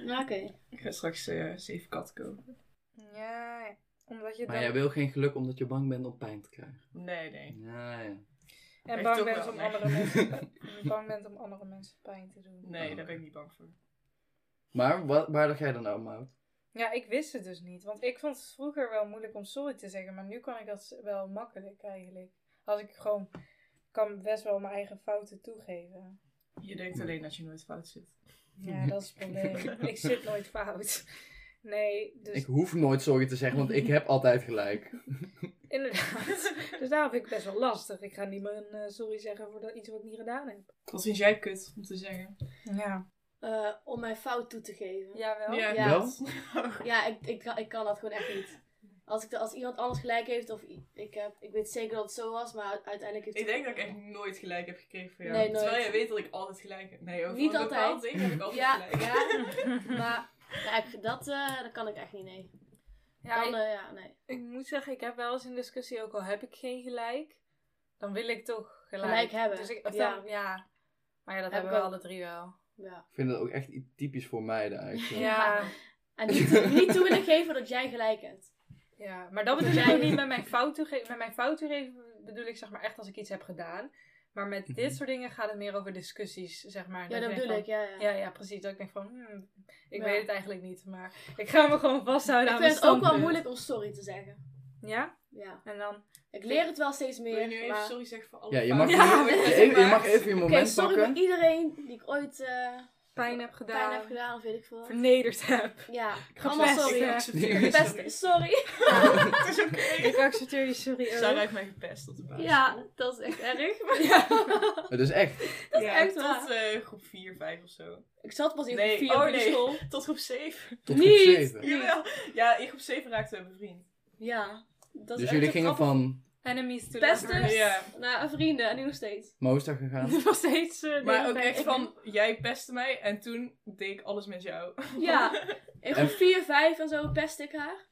Speaker 1: Nou, oké.
Speaker 4: Ik ga straks eh zeven katten kopen.
Speaker 5: Ja, ja. omdat je
Speaker 2: Maar
Speaker 5: dan...
Speaker 2: jij wil geen geluk omdat je bang bent om pijn te krijgen.
Speaker 4: Nee, nee.
Speaker 2: Ja, ja.
Speaker 5: En
Speaker 4: Heeft
Speaker 5: bang
Speaker 4: ook
Speaker 5: bent,
Speaker 4: wel,
Speaker 5: om
Speaker 4: nee.
Speaker 5: andere mensen, bang bent om andere mensen pijn te doen.
Speaker 4: Nee,
Speaker 2: Oh.
Speaker 4: daar ben ik niet bang voor.
Speaker 2: Maar wat, waar dacht jij dan nou om uit?
Speaker 5: Ja, ik wist het dus niet. Want ik vond het vroeger wel moeilijk om sorry te zeggen. Maar nu kan ik dat wel makkelijk eigenlijk. Als ik gewoon kan best wel mijn eigen fouten toegeven.
Speaker 4: Je denkt alleen dat je nooit fout zit.
Speaker 5: Ja, dat is het probleem. ik zit nooit fout. Nee, dus
Speaker 2: Ik hoef nooit sorry te zeggen, want ik heb altijd gelijk.
Speaker 5: inderdaad. Dus daarom vind ik het best wel lastig. Ik ga niet meer een eh, sorry zeggen voor dat, iets wat ik niet gedaan heb.
Speaker 4: Wat vind jij kut om te zeggen?
Speaker 5: Ja.
Speaker 1: Eh, om mijn fout toe te geven. Ja,
Speaker 5: Jawel.
Speaker 1: Ja.
Speaker 2: Wel?
Speaker 1: ik, ik, kan- ik kan dat gewoon echt niet. Als, ik, als iemand anders gelijk heeft, of i- ik, heb, ik weet zeker dat het zo was, maar uiteindelijk heeft
Speaker 4: Ik denk dat ik echt nooit gelijk heb gekregen van jou.
Speaker 1: Nee, nooit.
Speaker 4: Terwijl jij weet dat ik altijd gelijk heb. Nee, over
Speaker 1: Niet
Speaker 4: een bepaald
Speaker 1: altijd.
Speaker 4: ding heb ik altijd
Speaker 1: Ja,
Speaker 4: gelijk.
Speaker 1: ja, maar ja, ik, dat, eh, dat kan ik echt niet, nee.
Speaker 5: Ja,
Speaker 1: kan,
Speaker 5: ik,
Speaker 1: eh, ja, nee.
Speaker 5: ik moet zeggen, ik heb wel eens een discussie, ook al heb ik geen gelijk, dan wil ik toch gelijk,
Speaker 1: Gelijk hebben,
Speaker 5: Dus ik, of
Speaker 1: ja.
Speaker 5: dan- ja. Maar ja, dat
Speaker 1: Heb
Speaker 5: hebben
Speaker 1: ik
Speaker 5: we
Speaker 1: ook.
Speaker 5: alle drie wel.
Speaker 1: Ja.
Speaker 2: Ik vind dat ook echt iets typisch voor meiden eigenlijk.
Speaker 5: Ja,
Speaker 1: En niet, niet toe willen geven dat jij gelijk hebt.
Speaker 5: ja. maar dat bedoel
Speaker 1: Jij-
Speaker 5: ik ook niet met mijn fouten geven. Met mijn fouten geven bedoel ik zeg maar echt als ik iets heb gedaan. Maar met
Speaker 2: Mhm.
Speaker 5: dit soort dingen gaat het meer over discussies, zeg maar.
Speaker 1: Ja, dat
Speaker 5: denk
Speaker 1: bedoel ik, ja.
Speaker 5: van- Ja, ja, precies. Dat ik denk van, hmm, ik
Speaker 1: Ja.
Speaker 5: weet het eigenlijk niet, maar ik ga me gewoon vasthouden
Speaker 1: Ik
Speaker 5: aan
Speaker 1: vind
Speaker 5: mijn
Speaker 1: het ook wel
Speaker 5: standpunt.
Speaker 1: moeilijk om sorry te zeggen.
Speaker 5: Ja,
Speaker 1: Ja.
Speaker 5: en dan...
Speaker 1: Ik leer het wel steeds
Speaker 4: Wil je nu
Speaker 1: meer.
Speaker 4: even
Speaker 1: Maar...
Speaker 4: sorry zeggen voor alle
Speaker 2: Ja, je mag,
Speaker 5: Ja,
Speaker 2: even-
Speaker 5: dat
Speaker 2: je,
Speaker 5: is
Speaker 2: even- je
Speaker 5: waar.
Speaker 2: mag even je
Speaker 1: Oké,
Speaker 2: moment
Speaker 1: sorry
Speaker 2: pakken.
Speaker 1: voor iedereen die ik ooit eh
Speaker 5: pijn heb gedaan,
Speaker 1: pijn heb gedaan of weet ik veel.
Speaker 5: vernederd heb.
Speaker 1: Ja, allemaal
Speaker 5: gepest.
Speaker 1: sorry.
Speaker 5: Ik
Speaker 1: Gepest- sorry.
Speaker 4: Het is oké.
Speaker 5: Ik accepteer je sorry.
Speaker 4: Sarah heeft mij gepest op de basisschool.
Speaker 1: Ja, dat is echt erg. maar-
Speaker 2: Het is echt.
Speaker 4: dat
Speaker 5: is echt waar.
Speaker 4: Tot eh, groep 4, 5 of zo.
Speaker 1: Ik zat pas in
Speaker 4: Nee,
Speaker 1: groep 4
Speaker 4: oh
Speaker 1: op de
Speaker 4: nee.
Speaker 1: school.
Speaker 4: Tot groep 7.
Speaker 2: Tot
Speaker 1: Niet!
Speaker 2: groep 7.
Speaker 4: Jawel. Ja, in groep 7 raakten we bevriend.
Speaker 1: Ja. Dat is
Speaker 2: Dus
Speaker 1: echt
Speaker 2: jullie
Speaker 1: een
Speaker 2: gingen
Speaker 1: grappig-
Speaker 2: van
Speaker 5: Enemies to
Speaker 1: Pesters
Speaker 5: lovers.
Speaker 4: Ja.
Speaker 1: naar vrienden en nu nog steeds.
Speaker 2: Mooster gegaan.
Speaker 5: Nog steeds... eh,
Speaker 4: Maar
Speaker 5: nee,
Speaker 4: ook
Speaker 5: nee,
Speaker 4: echt
Speaker 5: ik-
Speaker 4: van, jij pestte mij en toen deed ik alles met jou.
Speaker 1: Ja. In groep 4, 5 en zo pestte ik haar.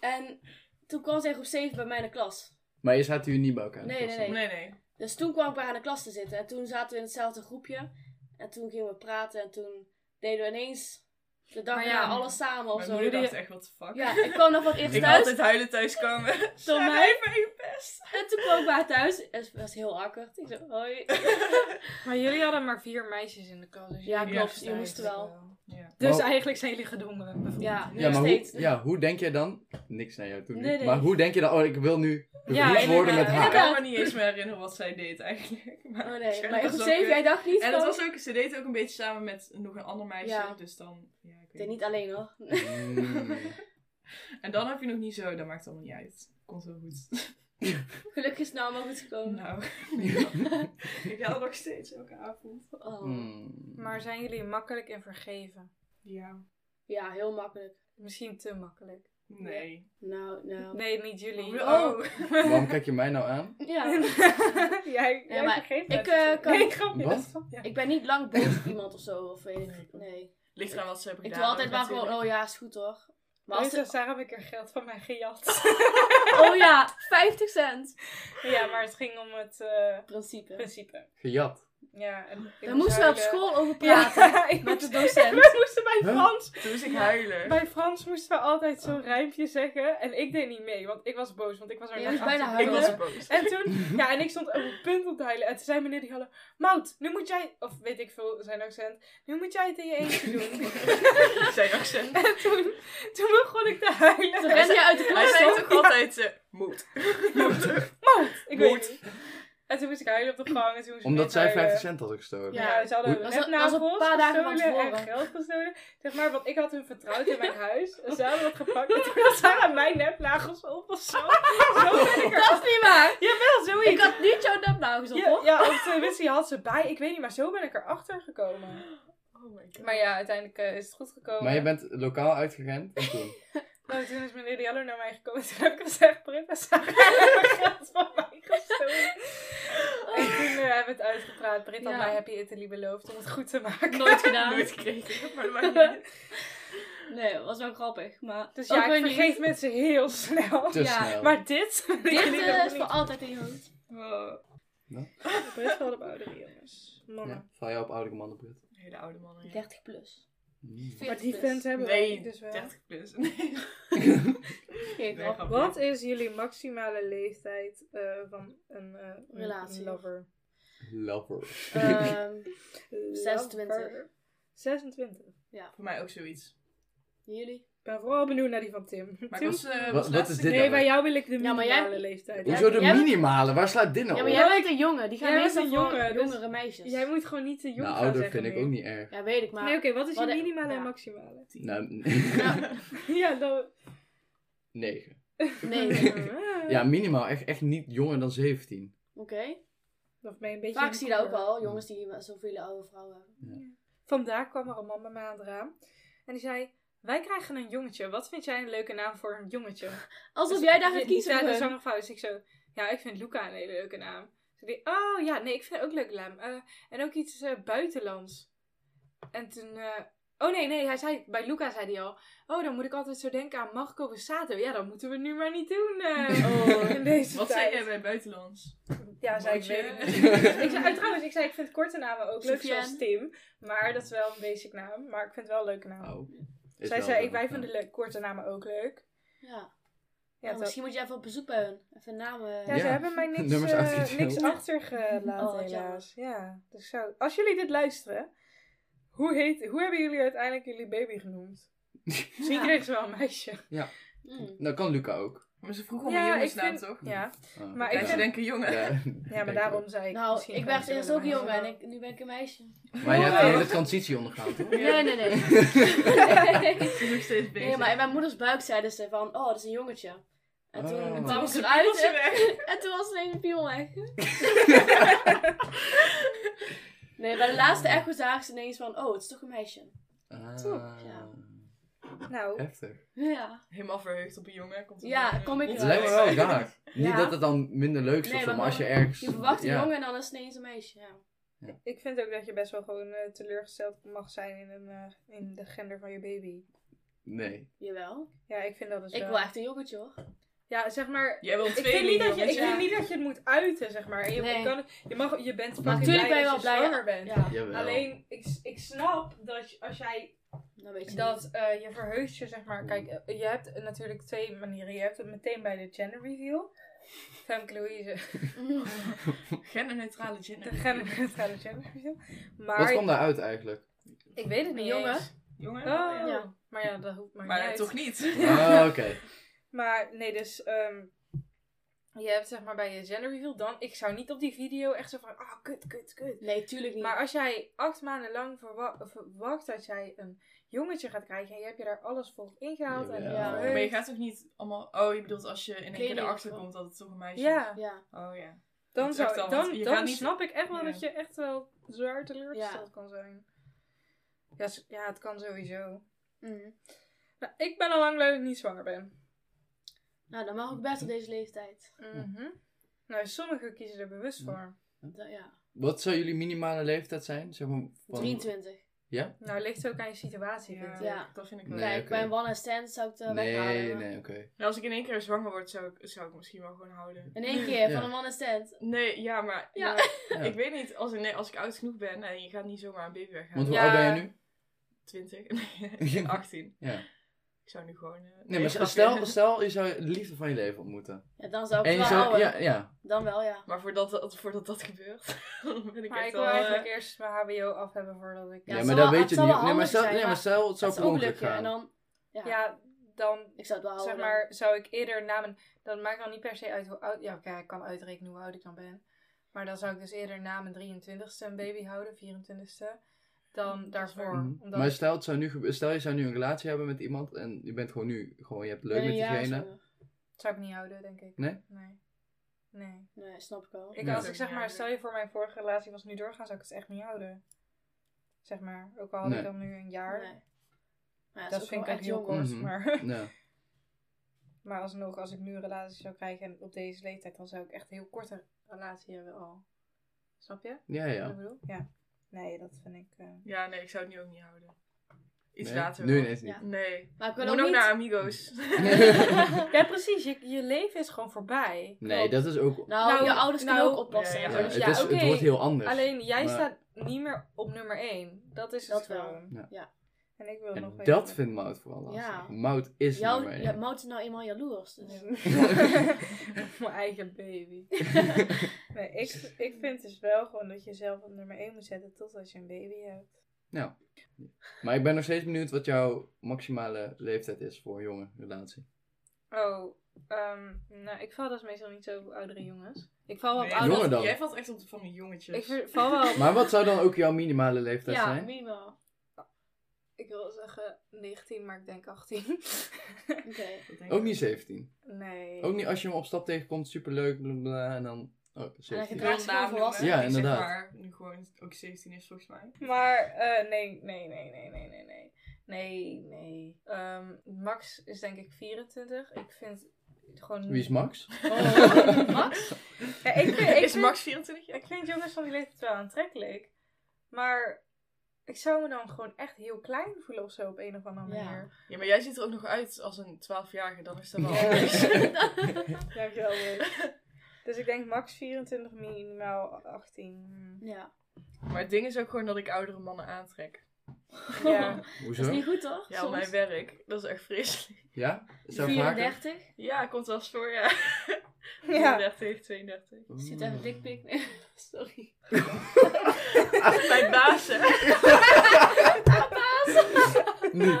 Speaker 1: En toen kwam zij in groep 7 bij mij in de klas.
Speaker 2: Maar je zaten hier niet bij elkaar.
Speaker 1: Nee,
Speaker 2: Dat was
Speaker 1: nee,
Speaker 2: dan-
Speaker 4: Nee, nee.
Speaker 1: Dus toen kwam ik bij haar in de klas te zitten. En toen zaten we in hetzelfde groepje. En toen gingen we praten. En toen deden we ineens de dag
Speaker 5: Maar
Speaker 1: na
Speaker 5: ja,
Speaker 1: alles samen of
Speaker 4: Mijn
Speaker 1: zo.
Speaker 4: moeder dacht echt, what the fuck.
Speaker 1: Ja, ik kwam nog wat eerst
Speaker 4: Ik
Speaker 1: thuis.
Speaker 4: altijd huilen thuiskomen. Door
Speaker 1: mij?
Speaker 4: mij ben je gepest.
Speaker 1: En toen kwam ik bij haar thuis. En het was heel akkerd. Ik zo, hoi.
Speaker 5: Maar jullie hadden maar vier meisjes in de klas. Dus
Speaker 1: Ja,
Speaker 5: jullie
Speaker 4: klopt.
Speaker 5: moesten
Speaker 1: Je moest
Speaker 5: eigenlijk
Speaker 1: wel.
Speaker 4: Ja.
Speaker 5: Dus
Speaker 2: Maar-
Speaker 5: eigenlijk zijn jullie gedwongen. bevriend.
Speaker 1: Ja, nu
Speaker 2: Ja,
Speaker 1: nog
Speaker 2: maar
Speaker 1: steeds.
Speaker 2: hoe, ja, hoe denk jij dan... Niks naar jou toe nu.
Speaker 1: Nee, nee.
Speaker 2: Maar hoe denk je dan... Oh, ik wil nu bevriend worden met
Speaker 5: inderdaad.
Speaker 4: Ik
Speaker 2: haar.
Speaker 4: kan me niet eens meer herinneren wat zij deed eigenlijk. Maar
Speaker 1: Oh nee,
Speaker 4: waarschijnlijk
Speaker 1: maar in
Speaker 4: was
Speaker 1: groep
Speaker 4: dat
Speaker 1: 7, jij
Speaker 4: kut.
Speaker 1: dacht niet
Speaker 4: En
Speaker 1: van...
Speaker 4: dat was ook, ze deed het ook een beetje samen met nog een ander meisje.
Speaker 1: Ja.
Speaker 4: Dus dan, ja, ik
Speaker 1: Ik
Speaker 4: weet
Speaker 1: deed
Speaker 4: niet.
Speaker 1: niet alleen hoor.
Speaker 2: Mm.
Speaker 4: En dan heb je nog niet zo, dat maakt allemaal niet uit. Komt wel goed.
Speaker 1: Gelukkig is het nou allemaal goed gekomen.
Speaker 4: nou, ik haal nog steeds elke avond.
Speaker 1: Oh.
Speaker 4: hmm.
Speaker 2: Mm.
Speaker 5: Maar zijn jullie makkelijk in vergeven?
Speaker 4: Ja.
Speaker 1: Ja, heel makkelijk.
Speaker 5: Misschien te makkelijk.
Speaker 4: Nee.
Speaker 1: Nou, nou.
Speaker 5: Nee, niet jullie.
Speaker 4: Oh.
Speaker 2: Waarom kijk je mij nou aan?
Speaker 1: Ja.
Speaker 5: jij, jij
Speaker 1: maar
Speaker 5: vergeeft
Speaker 1: ik,
Speaker 5: het.
Speaker 1: eh, kan-
Speaker 5: Nee, grapje.
Speaker 2: Wat?
Speaker 5: dat is grapje.
Speaker 1: Ik ben niet lang boos op iemand of zo. Of weet ik. Nee.
Speaker 4: Ligt eraan wat ze hebben
Speaker 1: Ik
Speaker 4: gedaan.
Speaker 1: doe altijd
Speaker 4: ook
Speaker 1: maar gewoon,
Speaker 4: natuurlijk.
Speaker 1: oh ja, is goed hoor. Maar als
Speaker 5: Als
Speaker 1: er,
Speaker 5: Sarah heb ik er geld van mij gejat.
Speaker 1: oh ja, 50 cent.
Speaker 5: ja, maar het ging om het eh,
Speaker 1: Principe.
Speaker 5: principe. Dus
Speaker 2: Gejat.
Speaker 5: Ja, en ik
Speaker 1: Daar
Speaker 5: moest
Speaker 1: moesten we op
Speaker 5: huilen.
Speaker 1: school over praten.
Speaker 5: Ja, ik
Speaker 1: Met de
Speaker 5: moest,
Speaker 1: docent.
Speaker 5: we moesten bij
Speaker 2: Huh?
Speaker 5: Frans
Speaker 4: Toen moest ik huilen.
Speaker 5: Bij Frans moesten we altijd zo'n rijmpje zeggen. En ik deed niet mee, want ik was boos. Want ik was er
Speaker 1: Je
Speaker 5: net
Speaker 1: moest
Speaker 5: achter.
Speaker 1: bijna
Speaker 5: Ik
Speaker 1: huilen.
Speaker 5: was-
Speaker 4: Ik was boos.
Speaker 5: En toen, ja, en ik stond op het punt om te huilen. En toen zei meneer die hadden, Mout, nu moet jij, of weet ik veel, zijn accent. Nu moet jij het in je eentje doen.
Speaker 4: Zijn accent.
Speaker 5: en toen, toen begon ik te huilen.
Speaker 1: Toen rende je uit de
Speaker 4: Hij
Speaker 1: klas.
Speaker 4: zei
Speaker 1: hè?
Speaker 4: toch altijd, eh, moed.
Speaker 5: Mout,
Speaker 4: Mout.
Speaker 5: ik weet niet. En toen moest ik huilen op de gang. En toen moest
Speaker 2: Omdat
Speaker 5: ik
Speaker 2: zij
Speaker 5: huilen.
Speaker 2: 50 cent had gestolen.
Speaker 1: Ja.
Speaker 5: eh, Ja, ze hadden
Speaker 2: Hoe-
Speaker 1: Was dat- was
Speaker 5: nepnagels
Speaker 1: dat een paar dagen van
Speaker 5: gestolen en
Speaker 1: tevoren?
Speaker 5: geld gestolen. Zeg maar, want ik had hun vertrouwd in mijn huis. En ze hadden dat gepakt. En toen had Sarah mijn nepnagels op of zo. Zo ben ik er.
Speaker 1: Dat is niet waar.
Speaker 5: Jawel, zoiets.
Speaker 1: Ik had niet jouw nepnagels op,
Speaker 5: Ja,
Speaker 1: hoor.
Speaker 5: ja, of tenminste, je had ze bij. Ik weet niet, maar zo ben ik erachter gekomen.
Speaker 4: Oh my god.
Speaker 5: Maar ja, uiteindelijk eh, is het goed gekomen.
Speaker 2: Maar je bent lokaal uitgerend en toen.
Speaker 5: Oh, toen is meneer Diallo naar mij gekomen. Toen heb ik gezegd, Britta, ze hebben geld van mij gestolen. En toen eh, hebben we het uitgepraat. Britta
Speaker 1: Ja.
Speaker 5: had mij Happy Italy beloofd om het goed te maken.
Speaker 1: Nooit gedaan.
Speaker 4: Nooit gekregen, maar dat maakt niet uit.
Speaker 1: Nee, dat was wel grappig. Maar
Speaker 5: Dus
Speaker 1: ook
Speaker 5: ja,
Speaker 1: weer
Speaker 5: ik
Speaker 1: niet.
Speaker 5: vergeef mensen heel snel.
Speaker 2: Te
Speaker 1: Ja,
Speaker 2: snel.
Speaker 5: Maar dit... wil ik
Speaker 1: Dit
Speaker 5: jullie
Speaker 1: eh,
Speaker 5: nog
Speaker 1: is voor
Speaker 5: niet.
Speaker 1: altijd in je hoofd.
Speaker 4: Oh,
Speaker 5: Best wel op oudere jongens.
Speaker 2: Ja,
Speaker 5: Mannen.
Speaker 2: val jij op oude mannen, Britt?
Speaker 4: hele oude mannen. ja.
Speaker 1: 30 plus.
Speaker 2: Mm.
Speaker 5: Maar
Speaker 1: 40
Speaker 5: die fans
Speaker 1: plus.
Speaker 5: hebben wij
Speaker 4: Nee,
Speaker 5: dus wel.
Speaker 4: 30 plus. Nee.
Speaker 1: Geef
Speaker 4: Nee,
Speaker 1: op.
Speaker 4: grapje.
Speaker 5: Wat is jullie maximale leeftijd eh, van een eh, een
Speaker 1: Relatie.
Speaker 5: lover?
Speaker 2: Lover.
Speaker 1: Ehm, 26.
Speaker 5: Lover. 26.
Speaker 4: Voor mij ook zoiets.
Speaker 1: jullie?
Speaker 5: Ik ben vooral benieuwd naar die van Tim.
Speaker 4: Maar ik
Speaker 5: Tim?
Speaker 4: was, eh,
Speaker 2: Wat-
Speaker 4: was
Speaker 2: wat
Speaker 4: laatst-
Speaker 2: is dit
Speaker 5: nee,
Speaker 2: dan?
Speaker 5: bij jou wil ik de
Speaker 1: Ja, maar
Speaker 5: minimale
Speaker 1: jij-
Speaker 5: leeftijd.
Speaker 1: Ja,
Speaker 2: Hoezo de
Speaker 1: jij bent-
Speaker 2: minimale? Waar slaat dit nou
Speaker 1: Ja,
Speaker 2: op?
Speaker 1: maar jij bent een jongen. Die
Speaker 5: Jij
Speaker 1: gaan
Speaker 5: bent
Speaker 1: meestal
Speaker 5: een
Speaker 1: voor
Speaker 5: jongen, dus-
Speaker 1: jongere meisjes.
Speaker 5: Jij moet gewoon niet te jong
Speaker 2: Nou,
Speaker 5: gaan
Speaker 2: ouder
Speaker 5: zeggen
Speaker 2: vind ik
Speaker 5: nu.
Speaker 2: ook niet erg.
Speaker 1: Ja, weet ik, maar...
Speaker 5: Nee, oké, wat is
Speaker 1: Wat-
Speaker 5: je minimale
Speaker 1: ja.
Speaker 5: en maximale?
Speaker 2: Nou,
Speaker 5: ja, dan...
Speaker 2: 9.
Speaker 1: Nee.
Speaker 5: Ah,
Speaker 2: Ja, minimaal. Echt, echt niet jonger dan 17.
Speaker 1: Oké.
Speaker 5: Of ben je een beetje...
Speaker 1: Vaak zie je dat ook
Speaker 5: al.
Speaker 1: al. Jongens die zoveel oude vrouwen hebben.
Speaker 5: Vandaag kwam er een man bij mij aan het raam. En die zei... Wij krijgen een jongetje. Wat vind jij een leuke naam voor een jongetje?
Speaker 1: Alsof
Speaker 5: Dus
Speaker 1: jij daar gaat
Speaker 5: die-
Speaker 1: kiezen
Speaker 5: die
Speaker 1: voor
Speaker 5: zei,
Speaker 1: hun.
Speaker 5: dat is fout. Dus ik zo, ja, ik vind Luca een hele leuke naam. Ze die, oh ja, nee, ik vind ook een leuke naam. Eh, en ook iets eh, buitenlands. En toen, eh, oh nee, nee, hij zei, bij Luca zei hij al, oh, dan moet ik altijd zo denken aan Marco Versato. Ja, dat moeten we nu maar niet doen eh,
Speaker 4: Oh,
Speaker 1: Oh.
Speaker 5: in deze
Speaker 4: Wat zei
Speaker 5: tijd.
Speaker 4: jij bij buitenlands?
Speaker 5: Ja, zei ik,
Speaker 4: Mootje?
Speaker 5: weet het niet. ik zei, oh, trouwens, ik zei, ik vind korte namen ook leuk,
Speaker 1: Sofiane.
Speaker 5: zoals Tim. Maar dat is wel een basic naam, maar ik vind het wel een leuke naam.
Speaker 2: Oh. Is
Speaker 5: Zij
Speaker 2: wel
Speaker 5: zei,
Speaker 2: zo.
Speaker 5: ik, wij vinden le- korte namen ook leuk.
Speaker 1: Ja.
Speaker 5: Ja,
Speaker 1: Oh,
Speaker 5: to-
Speaker 1: misschien moet je even op bezoek bij hun. Even namen.
Speaker 5: ja,
Speaker 2: Ja.
Speaker 5: Nou, ze hebben mij niks,
Speaker 2: Nummers
Speaker 5: eh,
Speaker 2: uitgedeeld.
Speaker 5: niks achtergelaten,
Speaker 1: Oh, wat
Speaker 5: helaas. Ja, dus zo. Als jullie dit luisteren, hoe, heet, hoe hebben jullie uiteindelijk jullie baby genoemd? Misschien
Speaker 1: Ja.
Speaker 5: kreeg ze wel een meisje.
Speaker 1: Mm.
Speaker 2: Dat Nou, kan Luca ook.
Speaker 4: Maar ze vroegen om
Speaker 5: Ja,
Speaker 4: een
Speaker 5: ik
Speaker 4: jongensnaam,
Speaker 5: vind-
Speaker 4: toch?
Speaker 5: Ja,
Speaker 2: Ah.
Speaker 5: Maar
Speaker 4: En
Speaker 5: ik
Speaker 4: ze
Speaker 5: vind-
Speaker 4: denken jongen.
Speaker 2: Ja,
Speaker 5: ja
Speaker 2: denk
Speaker 5: maar
Speaker 2: ik
Speaker 5: daarom zei ik
Speaker 1: Nou,
Speaker 5: misschien
Speaker 1: ik
Speaker 5: gaan
Speaker 1: ben
Speaker 5: ze
Speaker 1: eerst
Speaker 5: wel
Speaker 1: ook
Speaker 5: een
Speaker 1: jong
Speaker 5: meisje.
Speaker 1: en ik, nu ben ik een meisje.
Speaker 2: ook. Maar je hebt
Speaker 5: Ja.
Speaker 2: een hele transitie ondergaan, toch?
Speaker 1: Nee, nee, nee.
Speaker 4: Ze is nog steeds bezig.
Speaker 1: Nee, maar in mijn moeders buik zeiden ze van, oh, dat is een jongetje. En toen
Speaker 2: Oh.
Speaker 1: kwam ik
Speaker 4: Ze
Speaker 1: eruit
Speaker 4: piemelt ze
Speaker 1: en,
Speaker 4: weg.
Speaker 1: en toen was ineens een piemel weg. nee, bij de laatste echo zagen ze ineens van, oh, het is toch een meisje.
Speaker 2: Ah,
Speaker 1: Toch, ja.
Speaker 5: Nou,
Speaker 2: Heftig.
Speaker 1: Ja.
Speaker 4: Helemaal verheugd op een jongen. Komt er
Speaker 1: Ja,
Speaker 4: een-
Speaker 1: kom ik
Speaker 2: Het
Speaker 1: Ja.
Speaker 2: lijkt me wel raar. Niet
Speaker 1: Ja.
Speaker 2: dat het dan minder leuk is
Speaker 1: Nee,
Speaker 2: of zo,
Speaker 1: maar
Speaker 2: maar als je
Speaker 1: gewoon-
Speaker 2: ergens...
Speaker 1: Je verwacht een
Speaker 2: ja.
Speaker 1: jongen en dan is het ineens een meisje. Ja.
Speaker 5: ik vind ook dat je best wel gewoon eh, teleurgesteld mag zijn in, een, eh, in de gender van je baby.
Speaker 2: Nee.
Speaker 1: Jawel.
Speaker 5: Ja, ik vind dat dus
Speaker 1: Ik
Speaker 5: wel.
Speaker 1: wil echt een jongetje hoor.
Speaker 5: Ja, zeg maar...
Speaker 4: Jij wil
Speaker 5: Ik
Speaker 4: twee
Speaker 5: vind, niet dat je, ik
Speaker 1: Ja.
Speaker 5: vind niet dat je het moet uiten, zeg maar. En je,
Speaker 1: Nee.
Speaker 5: kan, je, mag, je bent
Speaker 2: Maar
Speaker 5: fucking
Speaker 1: natuurlijk ben je
Speaker 5: blij
Speaker 1: wel
Speaker 5: als je
Speaker 1: blij.
Speaker 5: zwanger bent.
Speaker 1: Ja,
Speaker 2: Jawel.
Speaker 5: Alleen, ik, ik snap dat je- als jij
Speaker 1: dan weet je
Speaker 5: dat eh, je verheugt je, zeg maar. Kijk, eh, je hebt natuurlijk twee manieren. Je hebt het meteen bij de gender reveal. Femke Louise,
Speaker 1: niet.
Speaker 4: Genderneutrale
Speaker 5: de
Speaker 4: gender.
Speaker 5: genderneutrale gender reveal.
Speaker 2: Wat
Speaker 5: Maar
Speaker 2: kwam daaruit eigenlijk?
Speaker 5: ik weet het niet
Speaker 1: Jongen.
Speaker 5: eens.
Speaker 4: Jongen?
Speaker 5: Oh,
Speaker 4: ja.
Speaker 1: Ja.
Speaker 5: maar ja, dat hoeft maar,
Speaker 4: Maar
Speaker 5: niet uit.
Speaker 4: toch niet.
Speaker 2: Ah, oké.
Speaker 5: Maar nee, dus ehm, je hebt zeg maar bij je gender reveal dan... Ik zou niet op die video echt zo van, ah, kut, kut, kut.
Speaker 1: Nee, tuurlijk niet.
Speaker 5: Maar als jij acht maanden lang verwa- verwacht dat jij een jongetje gaat krijgen... en je hebt je daar alles voor ingehaald en
Speaker 2: Jawel.
Speaker 5: verheugd.
Speaker 4: Maar je gaat toch niet allemaal... Oh, je bedoelt als je in één keer
Speaker 1: Kleding.
Speaker 4: erachter komt dat het toch een meisje is?
Speaker 5: Ja,
Speaker 1: Ja.
Speaker 4: Oh ja.
Speaker 5: dan,
Speaker 4: Het is echt
Speaker 5: zou,
Speaker 4: al
Speaker 5: dan,
Speaker 4: wat- je
Speaker 5: dan
Speaker 4: gaat niet-
Speaker 5: snap ik echt wel
Speaker 4: Ja.
Speaker 5: dat je echt wel zwaar teleurgesteld kan zijn. Ja, s- ja, het kan sowieso.
Speaker 1: Mm.
Speaker 5: Nou, ik ben al lang blij dat ik niet zwanger ben.
Speaker 1: Nou, dat mag ook best op deze leeftijd.
Speaker 5: Mhm. Nou, sommigen kiezen er bewust
Speaker 2: Ja.
Speaker 5: voor.
Speaker 1: Dat- ja.
Speaker 2: Wat zou jullie minimale leeftijd zijn? Zeg maar van...
Speaker 1: 23.
Speaker 5: Nou, ligt ook aan je situatie,
Speaker 4: Ja,
Speaker 5: vind ik.
Speaker 1: Ja.
Speaker 4: dat vind ik wel.
Speaker 2: Nee,
Speaker 1: Kijk,
Speaker 2: oké.
Speaker 1: bij een one and stand zou ik het eh, weghalen.
Speaker 2: Nee,
Speaker 1: maar-
Speaker 2: nee, oké.
Speaker 4: Ja, als ik in één keer zwanger word, zou ik, zou ik misschien wel gewoon houden.
Speaker 1: In één keer,
Speaker 2: Ja.
Speaker 1: van een one and stand.
Speaker 4: Nee, ja, maar
Speaker 1: Ja.
Speaker 4: ja.
Speaker 2: Ja.
Speaker 4: ik weet niet. Als, nee, als ik oud genoeg ben en je gaat niet zomaar een baby weghalen.
Speaker 2: Want hoe
Speaker 5: Ja.
Speaker 2: oud ben je nu?
Speaker 4: 20? Nee, 18.
Speaker 2: Ja.
Speaker 4: Ik zou nu gewoon... eh,
Speaker 2: Nee, maar
Speaker 4: grapje.
Speaker 2: stel, stel je zou de liefde van je leven ontmoeten.
Speaker 1: Ja, dan zou ik
Speaker 2: En
Speaker 1: het
Speaker 2: je
Speaker 1: wel
Speaker 2: zou...
Speaker 1: houden.
Speaker 2: Ja, ja.
Speaker 1: Dan wel, ja.
Speaker 4: Maar voordat dat, voordat dat gebeurt, ben ik
Speaker 5: Maar
Speaker 4: echt
Speaker 5: ik
Speaker 4: wel...
Speaker 5: wil
Speaker 4: eh,
Speaker 5: eigenlijk eerst mijn hbo af hebben voordat ik...
Speaker 1: Ja,
Speaker 5: Ja,
Speaker 2: nee,
Speaker 1: het zal
Speaker 2: maar
Speaker 1: wel-
Speaker 2: dat weet
Speaker 1: het
Speaker 2: je
Speaker 1: zal
Speaker 2: niet.
Speaker 1: wel
Speaker 2: Nee, maar
Speaker 1: handig
Speaker 2: stel,
Speaker 1: zijn,
Speaker 2: nee, maar
Speaker 1: maar
Speaker 2: stel het zou
Speaker 1: Dat
Speaker 2: per
Speaker 1: is ook
Speaker 2: ongeluk
Speaker 1: lukken.
Speaker 2: gaan.
Speaker 1: En dan, ja,
Speaker 5: dan,
Speaker 1: ik zou het wel houden.
Speaker 5: zeg maar, zou ik eerder na mijn... Dat maakt dan niet per se uit hoe oud... Ja, oké, ik kan uitrekenen hoe oud ik dan ben. Maar dan zou ik dus eerder na mijn 23ste een baby houden, 24ste,
Speaker 4: Mm,
Speaker 5: dan daarvoor.
Speaker 2: Mhm.
Speaker 5: Omdat
Speaker 2: Maar stel, het zou nu, gebe- stel je zou nu een relatie hebben met iemand en je bent gewoon nu, gewoon, je hebt het leuk
Speaker 1: Ben
Speaker 2: met
Speaker 1: een jaar
Speaker 2: diegene.
Speaker 1: zwanger.
Speaker 5: zou ik niet houden, denk ik.
Speaker 2: Nee?
Speaker 5: Nee. Nee.
Speaker 1: Nee, snap ik wel.
Speaker 5: Ik,
Speaker 2: Nee.
Speaker 5: Als ik zeg maar, stel je voor mijn vorige relatie was nu doorgaan, zou ik het echt niet houden. Zeg maar, ook al had
Speaker 2: Nee.
Speaker 5: ik dan nu een jaar.
Speaker 1: Nee. Maar ja, het
Speaker 5: Dat,
Speaker 1: is ook
Speaker 5: vind ik
Speaker 1: wel
Speaker 5: ook
Speaker 1: echt
Speaker 5: heel
Speaker 1: jong.
Speaker 5: kort.
Speaker 2: Mhm.
Speaker 5: Maar,
Speaker 2: Ja.
Speaker 5: maar alsnog, als ik nu een relatie zou krijgen en op deze leeftijd, dan zou ik echt een heel korte relatie hebben al. Snap je
Speaker 2: Ja,
Speaker 5: wat ik
Speaker 2: ja.
Speaker 5: bedoel? Ja. Nee, dat vind ik... eh,
Speaker 4: Ja, nee, ik zou het nu ook niet houden. Iets
Speaker 2: Nee?
Speaker 4: later
Speaker 2: Nu
Speaker 4: wel.
Speaker 2: ineens niet.
Speaker 1: Ja.
Speaker 4: Nee.
Speaker 1: Maar ik
Speaker 4: We
Speaker 1: wil
Speaker 4: ook
Speaker 1: ook niet...
Speaker 4: naar Amigos.
Speaker 5: Ja, precies. Je, je leven is gewoon voorbij.
Speaker 2: Nee, dat is ook...
Speaker 1: Nou,
Speaker 5: Nou,
Speaker 1: je ouders
Speaker 5: nou-
Speaker 1: kunnen ook oppassen.
Speaker 4: Ja,
Speaker 2: Ja,
Speaker 4: ja.
Speaker 1: hoor.
Speaker 2: het,
Speaker 1: Dus
Speaker 5: ja,
Speaker 2: is, het
Speaker 5: oké.
Speaker 2: wordt heel anders.
Speaker 5: Alleen, jij
Speaker 2: Maar-
Speaker 5: staat niet meer op nummer 1. Dat is het
Speaker 1: Dat wel.
Speaker 5: gewoon.
Speaker 2: Ja.
Speaker 1: Ja.
Speaker 5: En ik wil nog
Speaker 2: en
Speaker 5: weten-
Speaker 2: dat vindt Mout vooral lastig.
Speaker 1: Ja.
Speaker 2: Mout is
Speaker 1: Jouw
Speaker 2: nummer
Speaker 1: ja,
Speaker 2: één.
Speaker 1: Mout is nou eenmaal jaloers. Dus.
Speaker 5: Mijn eigen baby. nee, ik, ik vind dus wel gewoon dat je zelf op nummer 1 moet zetten totdat je een baby hebt.
Speaker 2: Maar ik ben nog steeds benieuwd wat jouw maximale leeftijd is voor een jonge relatie.
Speaker 5: Oh, ehm, nou, ik val dus meestal niet zo op oudere jongens. Ik val wel op
Speaker 4: Nee,
Speaker 5: oudere...
Speaker 2: jonger dan.
Speaker 4: Jij valt echt op de van die jongetjes.
Speaker 5: Ik ver- val wel op...
Speaker 2: Maar wat zou dan ook jouw minimale leeftijd
Speaker 1: Ja,
Speaker 2: zijn?
Speaker 1: minimaal.
Speaker 5: Ik wil zeggen 19, maar ik denk 18.
Speaker 1: Oké.
Speaker 4: Dat denk ik
Speaker 2: Ook niet 17.
Speaker 5: nee.
Speaker 2: Ook niet als je hem op stap tegenkomt, superleuk, bla bla, bla, en dan... Oh,
Speaker 1: hij
Speaker 2: 17.
Speaker 1: gedraagt-
Speaker 4: Gewoon
Speaker 1: is
Speaker 4: naam
Speaker 1: gewoon volwassen.
Speaker 2: Ja,
Speaker 4: noemen. Ik zeg
Speaker 2: inderdaad.
Speaker 4: maar nu gewoon ook 17 is volgens mij.
Speaker 5: Maar eh, nee, nee, nee, nee, nee, nee, nee. Nee, nee. Ehm, Max is denk ik 24. Ik vind gewoon...
Speaker 2: Wie is Max?
Speaker 5: Oh.
Speaker 1: Max?
Speaker 5: Ja, ik vind, ik
Speaker 4: is
Speaker 5: vind-
Speaker 4: Max 24 jaar?
Speaker 5: Ik vind jongens van die leeftijd wel aantrekkelijk. Maar ik zou me dan gewoon echt heel klein voelen of zo op een of andere
Speaker 1: Ja.
Speaker 5: manier.
Speaker 4: Ja, maar jij ziet er ook nog uit als een 12-jarige. Dan is dat wel...
Speaker 5: Dankjewel. Wil. Dus ik denk max 24, minimaal 18.
Speaker 1: Ja.
Speaker 4: Maar het ding is ook gewoon dat ik oudere mannen aantrek.
Speaker 5: Ja.
Speaker 1: Dat is
Speaker 2: Hoezo?
Speaker 1: niet goed toch?
Speaker 4: Ja, op
Speaker 1: Soms.
Speaker 4: mijn werk. Dat is echt vreselijk.
Speaker 2: Ja? Is dat vaker?
Speaker 1: 34?
Speaker 4: Ja, komt wel eens voor, ja.
Speaker 5: ja.
Speaker 4: 33, 32.
Speaker 1: Zit
Speaker 2: Mm.
Speaker 1: even dikpik. Nee, sorry.
Speaker 4: Mijn baas, hè.
Speaker 2: Niet.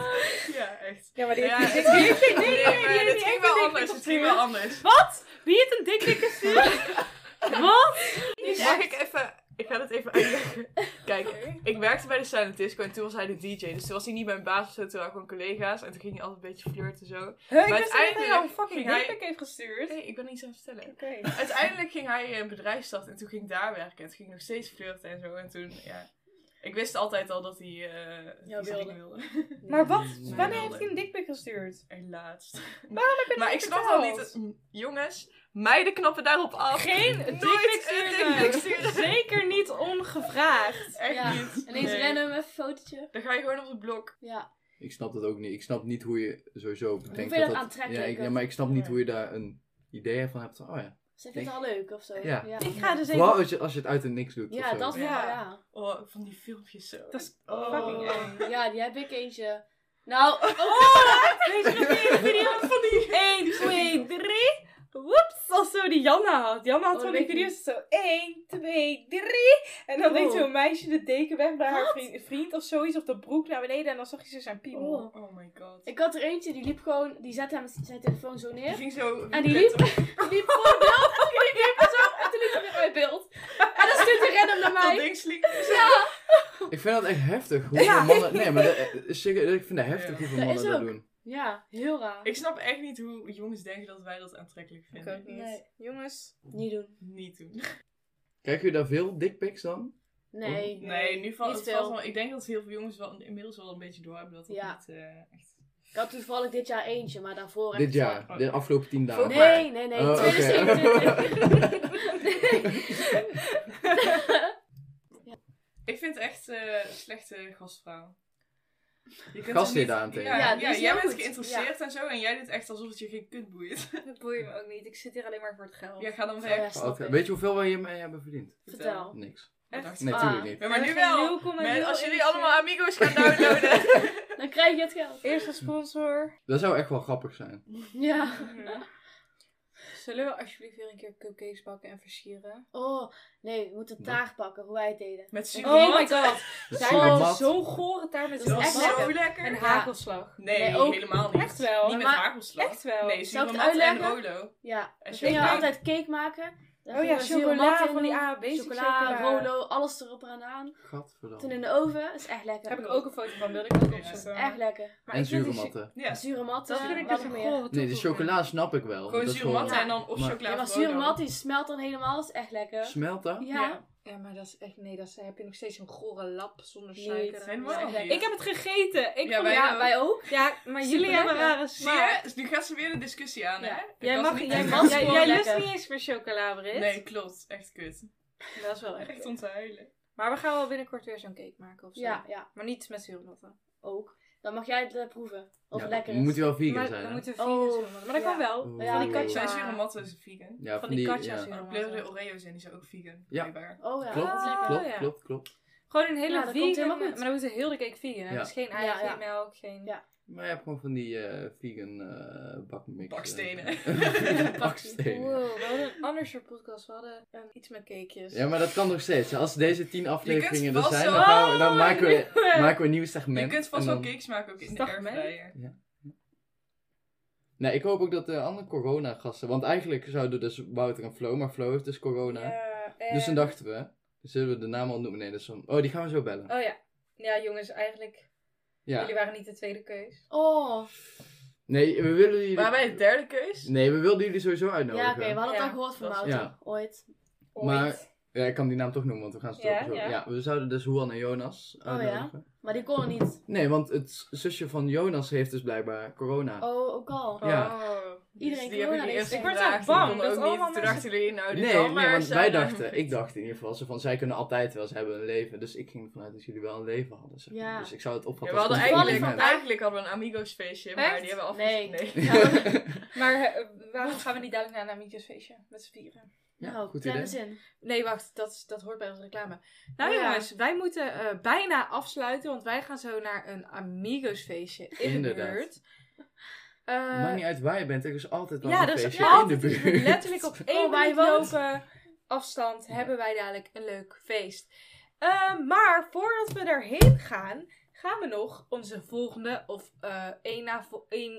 Speaker 4: Ja, echt.
Speaker 5: Ja, maar die
Speaker 4: Ja,
Speaker 5: heeft
Speaker 4: het
Speaker 5: die
Speaker 4: ging,
Speaker 5: dik- die heeft die- nee, nee,
Speaker 4: nee,
Speaker 5: die
Speaker 4: maar
Speaker 5: heeft
Speaker 4: dit
Speaker 5: die
Speaker 4: ging wel
Speaker 5: enkele dik-
Speaker 4: anders.
Speaker 5: dik
Speaker 4: Het ging wel anders.
Speaker 5: Wat? Wie heeft een dik dik gestuurd? Wat?
Speaker 4: Mag ik even... Ik ga het even uitleggen. Kijk, ik werkte bij de Silent Disco en toen was hij de DJ. Dus toen was hij niet mijn baas of zo, toen waren gewoon collega's. En toen ging hij altijd een beetje flirten en zo.
Speaker 5: Huh,
Speaker 4: Maar
Speaker 5: ik wist niet dat hij
Speaker 4: uiteindelijk
Speaker 5: jou een fucking
Speaker 4: ging hij-
Speaker 5: dik dik heeft gestuurd.
Speaker 4: Nee, ik ben niets aan het vertellen.
Speaker 5: Oké.
Speaker 4: Uiteindelijk ging hij een bedrijfsstad en toen ging ik daar werken. En toen ging ik nog steeds flirten en zo. En toen, ja... Ik wist altijd al dat hij eh
Speaker 1: Jou
Speaker 4: iets van
Speaker 1: wilde.
Speaker 4: ik wilde.
Speaker 5: Maar wat?
Speaker 2: Nee.
Speaker 5: Wanneer heeft hij een dikpik gestuurd?
Speaker 4: En laatst.
Speaker 5: Heb je dat
Speaker 4: Maar ik snap al niet...
Speaker 5: verteld?
Speaker 4: dat- Jongens, meiden knappen daarop af.
Speaker 5: Geen dikpik
Speaker 4: een dikpik
Speaker 5: sturen! Zeker niet ongevraagd.
Speaker 4: Echt
Speaker 1: Ja,
Speaker 4: niet.
Speaker 1: Ineens
Speaker 4: Nee.
Speaker 1: rennen, even een fotootje.
Speaker 4: Dan ga je gewoon op het blok.
Speaker 1: Ja.
Speaker 2: Ik snap dat ook niet. Ik snap niet hoe je sowieso denkt
Speaker 1: vind
Speaker 2: dat
Speaker 1: dat
Speaker 2: dat...
Speaker 1: aantrekkelijk,
Speaker 2: Ja, ik-
Speaker 1: hè?
Speaker 2: ja, maar ik snap niet hoe je daar een idee van hebt. van, Oh ja.
Speaker 1: Ze vindt het al leuk of zo.
Speaker 2: Ja.
Speaker 1: ja.
Speaker 5: Ik ga dus
Speaker 2: Vooral
Speaker 5: even...
Speaker 2: als je, als je het uit de niks doet. of
Speaker 1: Ja,
Speaker 2: zo.
Speaker 1: dat is wel,
Speaker 5: Ja.
Speaker 1: ja.
Speaker 4: Oh, van die filmpjes zo.
Speaker 5: Dat is
Speaker 4: Oh.
Speaker 5: fucking eng.
Speaker 1: Ja, die heb ik eentje. Nou,
Speaker 5: Weet je nog die video van die... 1, 2, 3... Woeps, als zo die Janna had. Janna had
Speaker 1: Oh,
Speaker 5: van
Speaker 1: dat
Speaker 5: die
Speaker 1: weet ik
Speaker 5: video's zo 1, 2, 3. En dan
Speaker 1: Oh.
Speaker 5: deed zo'n meisje de deken weg bij haar vriend, vriend of zoiets. Of de broek naar beneden en dan zag je ze zijn piemel.
Speaker 1: Oh.
Speaker 4: Oh my god.
Speaker 1: ik had er eentje, die liep gewoon, die zette hem zijn telefoon zo
Speaker 4: Die
Speaker 1: neer.
Speaker 4: ging zo...
Speaker 1: En die liep, die liep voor beeld. En ik liep er zo, en toen liep hij weer uit beeld. En dan stuurt hij random naar
Speaker 4: Dat
Speaker 1: mij.
Speaker 4: ding sliep.
Speaker 1: Ja,
Speaker 2: Ik vind dat echt heftig. Hoeveel mannen... Nee, maar dat- eh, serieus, ik vind het heftig
Speaker 4: Ja.
Speaker 2: hoeveel
Speaker 1: Dat
Speaker 2: mannen
Speaker 1: is
Speaker 2: dat
Speaker 1: ook.
Speaker 2: doen.
Speaker 1: ja heel raar.
Speaker 4: Ik snap echt niet hoe jongens denken dat wij dat aantrekkelijk
Speaker 5: Ik
Speaker 4: vinden.
Speaker 5: ook niet.
Speaker 1: Nee.
Speaker 5: Jongens.
Speaker 1: Niet doen.
Speaker 4: Niet doen.
Speaker 2: Krijgen jullie daar veel dickpics dan?
Speaker 1: Nee.
Speaker 4: Nee, nu valt
Speaker 1: Niet
Speaker 4: het
Speaker 1: veel.
Speaker 4: valt wel... Ik denk dat heel veel jongens wel, inmiddels wel een beetje doorhebben dat het
Speaker 1: Ja.
Speaker 4: niet eh, echt...
Speaker 1: Ik had toevallig dit jaar eentje, maar daarvoor... echt-
Speaker 2: Dit jaar?
Speaker 4: Oh.
Speaker 2: De afgelopen tien dagen?
Speaker 4: Vorig jaar.
Speaker 1: Nee, nee, nee.
Speaker 2: Oh, oké.
Speaker 1: 2027.
Speaker 4: Ik vind het echt eh, slechte gastvrouw. Je kunt
Speaker 2: Gastheer
Speaker 4: er niet-
Speaker 2: daaraan tegen.
Speaker 4: Ja,
Speaker 1: Ja,
Speaker 4: ja,
Speaker 1: die is
Speaker 4: jij
Speaker 1: heel
Speaker 4: bent
Speaker 1: goed.
Speaker 4: geïnteresseerd en zo en jij doet echt alsof het je geen kut boeit.
Speaker 5: Dat boeit me ook niet. Ik zit hier alleen maar voor het geld.
Speaker 4: Ja, ga dan
Speaker 1: Ja,
Speaker 4: weg.
Speaker 1: snap
Speaker 2: Oké,
Speaker 1: ik.
Speaker 2: Weet je hoeveel wij hiermee hebben verdiend?
Speaker 1: Vertel.
Speaker 2: Niks.
Speaker 4: Dat
Speaker 5: Echt?
Speaker 4: dacht ik.
Speaker 2: Nee,
Speaker 1: Ah.
Speaker 2: tuurlijk niet.
Speaker 4: Ja, maar
Speaker 5: We
Speaker 4: nu
Speaker 5: hebben
Speaker 4: wel.
Speaker 5: 0,0
Speaker 4: Men, als jullie
Speaker 5: eentje.
Speaker 4: allemaal Amigos gaan downloaden.
Speaker 1: Dan krijg je het geld.
Speaker 5: Eerste sponsor.
Speaker 2: Dat zou echt wel grappig zijn.
Speaker 1: Ja.
Speaker 5: Mhm. Zullen we alsjeblieft weer een keer cupcakes bakken en versieren?
Speaker 1: Oh, nee, we moeten taart pakken, hoe wij het deden.
Speaker 4: Met
Speaker 5: Oh,
Speaker 4: super
Speaker 5: my god.
Speaker 2: Dat is
Speaker 5: Zij
Speaker 2: zo
Speaker 5: was
Speaker 2: mat.
Speaker 5: zo'n gore taart met
Speaker 1: Dat is
Speaker 5: zo'n
Speaker 1: echt
Speaker 5: mat
Speaker 1: lekker.
Speaker 4: zo lekker.
Speaker 5: en
Speaker 1: Ja.
Speaker 5: hagelslag.
Speaker 4: Nee,
Speaker 1: Nee, ook-
Speaker 4: helemaal niet.
Speaker 5: echt wel.
Speaker 4: Niet met
Speaker 1: Maar-
Speaker 4: hagelslag.
Speaker 5: Echt wel.
Speaker 4: Nee,
Speaker 1: Zou ik
Speaker 4: supermat en
Speaker 1: het uitleggen?
Speaker 4: rolo.
Speaker 1: Ja.
Speaker 4: En
Speaker 1: We gingen
Speaker 4: chocola.
Speaker 1: altijd cake maken. Daar
Speaker 5: Oh ja,
Speaker 1: gingen we zero
Speaker 5: chocola
Speaker 1: nat in
Speaker 5: van die
Speaker 1: doen.
Speaker 5: A, basic
Speaker 1: Chocola,
Speaker 5: chocola.
Speaker 1: rolo, alles erop en aan. Toen in
Speaker 2: Gadverdamme.
Speaker 1: de oven, is echt lekker.
Speaker 5: Daar heb ik ook een foto van, wilde ik ook
Speaker 4: Ja,
Speaker 5: opzoeken.
Speaker 1: Echt lekker.
Speaker 5: Maar
Speaker 2: En
Speaker 5: ik vind die
Speaker 2: zuurmatten.
Speaker 4: Ja.
Speaker 1: Zure mat.
Speaker 5: Dat
Speaker 1: eh,
Speaker 5: vind ik
Speaker 1: wat
Speaker 5: dus
Speaker 1: nog
Speaker 5: een
Speaker 1: meer.
Speaker 5: gore
Speaker 2: Nee, de
Speaker 5: toevoeging.
Speaker 2: chocola snap ik wel.
Speaker 4: Gewoon
Speaker 2: Dat is
Speaker 4: zuur
Speaker 2: gewoon-
Speaker 4: matten en dan of
Speaker 2: Maar-
Speaker 4: chocola.
Speaker 1: Ja, maar
Speaker 4: rolo.
Speaker 1: zure mat die smelt dan helemaal, is echt lekker.
Speaker 2: Smelt dat?
Speaker 1: Ja.
Speaker 5: Ja, maar dat is echt... Nee, dat is, heb je nog steeds een gore lap zonder
Speaker 1: Niet.
Speaker 5: suiker.
Speaker 4: Helemaal
Speaker 5: Ja.
Speaker 4: niet.
Speaker 5: Ik heb het gegeten. Ik
Speaker 4: Ja,
Speaker 5: vond-
Speaker 4: wij
Speaker 1: Ja,
Speaker 4: ook.
Speaker 1: wij ook.
Speaker 5: ja, maar jullie
Speaker 1: Superlekker.
Speaker 5: hebben rare
Speaker 4: Zie
Speaker 5: smaak.
Speaker 4: je? Dus nu gaat ze weer de discussie aan,
Speaker 1: Ja.
Speaker 4: hè? Ik
Speaker 5: Jij,
Speaker 4: was
Speaker 5: mag,
Speaker 4: niet
Speaker 5: jij,
Speaker 4: echt-
Speaker 1: mag-
Speaker 5: jij, jij
Speaker 1: Lekker.
Speaker 5: lust niet eens voor chocola, Brit.
Speaker 4: Nee, klopt. Echt kut.
Speaker 5: Dat is wel echt.
Speaker 4: Echt om te huilen.
Speaker 5: Maar we gaan wel binnenkort weer zo'n cake maken of zo.
Speaker 1: Ja, ja,
Speaker 5: Maar niet met zuurmatten.
Speaker 1: ook. Dan mag jij het eh, proeven. Of
Speaker 2: Ja,
Speaker 1: het lekker is.
Speaker 2: Moet je wel vegan
Speaker 5: maar
Speaker 2: zijn,
Speaker 5: dan
Speaker 2: hè? Oh.
Speaker 5: moeten we
Speaker 1: Oh,
Speaker 5: vegan zuurmatten. Maar dat kan
Speaker 1: ja.
Speaker 5: wel.
Speaker 2: Oeh.
Speaker 1: Ja, die katja.
Speaker 4: Zijn
Speaker 5: Ja.
Speaker 4: zure matten is vegan.
Speaker 2: Ja,
Speaker 5: Van die katja
Speaker 2: ja.
Speaker 4: Er
Speaker 5: zuurmatten.
Speaker 4: pleurden Oreo's in, die zijn dus ook vegan.
Speaker 2: Ja.
Speaker 4: blijkbaar.
Speaker 1: Oh ja,
Speaker 2: Klopt,
Speaker 1: dat is lekker.
Speaker 5: Oh,
Speaker 2: klopt,
Speaker 5: ja.
Speaker 2: klopt, klopt.
Speaker 5: Gewoon een hele
Speaker 1: Ja, dat
Speaker 5: vegan.
Speaker 1: komt helemaal goed.
Speaker 5: Maar dan moet heel de cake vegan. Hè?
Speaker 2: Ja.
Speaker 5: Dus geen ei,
Speaker 1: Ja,
Speaker 5: geen
Speaker 1: ja.
Speaker 5: melk, geen...
Speaker 1: Ja.
Speaker 2: Maar je hebt gewoon van die eh, vegan eh bakmix. eh.
Speaker 4: Bakstenen.
Speaker 2: Vegan bakstenen.
Speaker 5: Wow, we hadden een ander soort podcast. We hadden ehm, iets met cakejes.
Speaker 2: Ja, maar dat kan nog steeds. Als deze tien
Speaker 4: Je
Speaker 2: afleveringen
Speaker 4: kunt
Speaker 2: er
Speaker 4: vast
Speaker 2: zijn,
Speaker 4: wel-
Speaker 2: dan, gaan we, dan
Speaker 5: Oh,
Speaker 2: maken, we,
Speaker 5: nee.
Speaker 2: maken we een nieuw segment.
Speaker 4: Je kunt vast
Speaker 2: en
Speaker 4: wel
Speaker 2: dan-
Speaker 4: cakes maken ook in de
Speaker 5: Dag, man.
Speaker 4: airfryer.
Speaker 2: Nee, ik hoop ook dat de andere corona-gasten... Want eigenlijk zouden dus Wouter en Flo, maar Flo heeft dus corona.
Speaker 5: Ja, eh,
Speaker 2: Dus toen dachten we, zullen we de naam al noemen? Nee, dat is van... Oh, die gaan we zo bellen.
Speaker 5: Oh ja. Ja, jongens, eigenlijk...
Speaker 2: ja.
Speaker 5: Jullie waren niet de tweede keus.
Speaker 1: Oh,
Speaker 2: Nee, we willen jullie...
Speaker 4: Waren wij de derde keus?
Speaker 2: Nee, we wilden jullie sowieso
Speaker 1: ja,
Speaker 2: uitnodigen.
Speaker 1: oké. we hadden
Speaker 5: Ja.
Speaker 1: het al gehoord van
Speaker 4: Dat is-
Speaker 1: Wouter.
Speaker 2: ja.
Speaker 1: Ooit.
Speaker 5: Ooit.
Speaker 2: Maar- Ja, ik kan die naam toch noemen, want we gaan ze toch
Speaker 5: Ja,
Speaker 2: zo...
Speaker 5: ja.
Speaker 2: Ja. we zouden dus Juan en Jonas
Speaker 1: ja?
Speaker 2: uitnodigen.
Speaker 1: Maar die kon er niet.
Speaker 2: Nee, want het zusje van Jonas heeft dus blijkbaar corona.
Speaker 1: Oh, ook al.
Speaker 2: Ja.
Speaker 4: Oh.
Speaker 1: Iedereen
Speaker 4: die hebben jullie
Speaker 1: corona is-
Speaker 4: eerst
Speaker 1: Ik
Speaker 5: word
Speaker 4: gevraagd,
Speaker 5: echt bang
Speaker 4: die
Speaker 5: dat
Speaker 4: konden ook
Speaker 5: allemaal
Speaker 4: niet. Toen
Speaker 5: mensen-
Speaker 4: dachten jullie, nou, dit
Speaker 2: Nee,
Speaker 4: kan
Speaker 2: nee,
Speaker 4: maar
Speaker 2: want
Speaker 4: zijn,
Speaker 2: wij
Speaker 4: eh,
Speaker 2: dachten, ik dacht in ieder geval, zo van zij kunnen altijd wel, ze hebben een leven. Dus ik ging ervan uit dat jullie wel een leven hadden. zeg maar.
Speaker 1: Ja.
Speaker 2: Dus ik zou het
Speaker 4: Ja,
Speaker 2: opvatten
Speaker 4: we hadden
Speaker 2: een
Speaker 4: eigenlijk,
Speaker 1: Toevallig
Speaker 2: compliment.
Speaker 4: eigenlijk hadden we een Amigos feestje, maar
Speaker 5: Echt?
Speaker 4: die hebben we
Speaker 1: Nee.
Speaker 4: afgezien.
Speaker 1: Ja.
Speaker 5: Maar eh, waarom gaan we niet dadelijk naar een amietjesfeestje met z'n vieren?
Speaker 2: Ja,
Speaker 1: oh,
Speaker 2: goed
Speaker 1: kleine
Speaker 2: idee.
Speaker 1: zin.
Speaker 5: Nee, wacht, dat, is- dat hoort bij onze reclame. Nou
Speaker 1: Oh ja.
Speaker 5: jongens, wij moeten eh, bijna afsluiten, want wij gaan zo naar een Amigos feestje in
Speaker 2: Inderdaad.
Speaker 5: de buurt. Eh,
Speaker 2: Maakt niet uit waar je bent, er is altijd wel
Speaker 5: ja,
Speaker 2: een
Speaker 5: dus
Speaker 2: feestje in de
Speaker 5: altijd
Speaker 2: buurt.
Speaker 5: letterlijk op één
Speaker 1: Oh, wij
Speaker 5: minuut
Speaker 1: woont-
Speaker 5: lopen afstand hebben wij dadelijk een leuk feest. Eh, maar voordat we daarheen gaan, gaan we nog onze volgende of eh één, na vo- één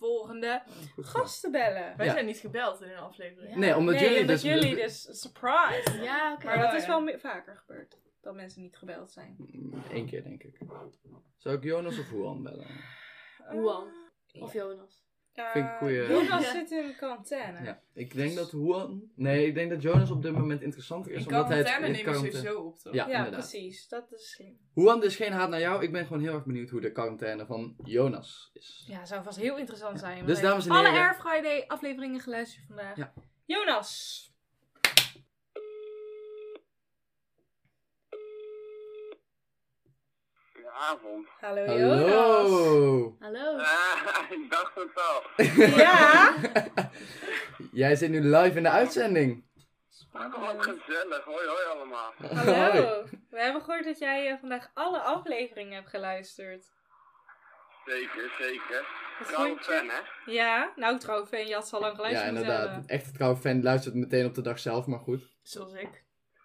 Speaker 5: opvolgende
Speaker 2: Goed gedaan.
Speaker 5: gasten bellen.
Speaker 4: Wij
Speaker 2: Ja.
Speaker 4: zijn niet gebeld in een aflevering.
Speaker 1: Ja.
Speaker 2: Nee, omdat
Speaker 5: nee,
Speaker 2: jullie
Speaker 5: omdat
Speaker 2: dus...
Speaker 5: jullie dus surprise.
Speaker 1: Ja, oké.
Speaker 5: Maar
Speaker 4: Oh,
Speaker 5: dat is
Speaker 4: ja.
Speaker 5: wel meer- vaker gebeurd. Dat mensen niet gebeld zijn.
Speaker 2: Eén keer, denk ik. Zou ik Jonas of Juan bellen?
Speaker 1: Juan. Of Jonas.
Speaker 5: Eh,
Speaker 2: Vind ik een goeie-
Speaker 5: Jonas
Speaker 4: Ja.
Speaker 5: zit in quarantaine.
Speaker 2: Ja, ik denk dat Juan... Nee, ik denk dat Jonas op dit moment interessanter is.
Speaker 4: In
Speaker 2: omdat hij het-
Speaker 4: quarantaine
Speaker 2: in
Speaker 4: nemen ze
Speaker 2: quarantaine-
Speaker 4: sowieso op, toch?
Speaker 2: Ja,
Speaker 5: Ja,
Speaker 2: inderdaad.
Speaker 5: precies. Dat is slim.
Speaker 2: Juan, dus geen haat naar jou. Ik ben gewoon heel erg benieuwd hoe de quarantaine van Jonas is.
Speaker 5: Ja, zou vast heel interessant zijn. want
Speaker 2: Dus
Speaker 5: hij
Speaker 2: dames
Speaker 5: heeft
Speaker 2: en
Speaker 5: Alle
Speaker 2: heren-
Speaker 5: Air Friday afleveringen geluisterd vandaag.
Speaker 2: Ja.
Speaker 5: Jonas!
Speaker 3: Goedenavond.
Speaker 5: Hallo, Jonas!
Speaker 2: Hallo!
Speaker 1: Hallo.
Speaker 3: Ah, ik dacht het al.
Speaker 5: Ja?
Speaker 2: Jij zit nu live in de uitzending.
Speaker 3: Oh, wat gezellig. Hoi, hoi allemaal.
Speaker 2: Hoi.
Speaker 5: Hallo! We hebben gehoord dat jij eh, vandaag alle afleveringen hebt geluisterd.
Speaker 3: Zeker, zeker.
Speaker 5: Wat
Speaker 3: Trouwe
Speaker 5: vond je?
Speaker 3: fan, hè?
Speaker 5: Ja, nou trouwens, en Jats al lang geluisterd
Speaker 2: Ja,
Speaker 5: moeten
Speaker 2: inderdaad.
Speaker 5: hebben.
Speaker 2: Echt een trouwe fan luistert meteen op de dag zelf, maar goed.
Speaker 4: Zoals ik.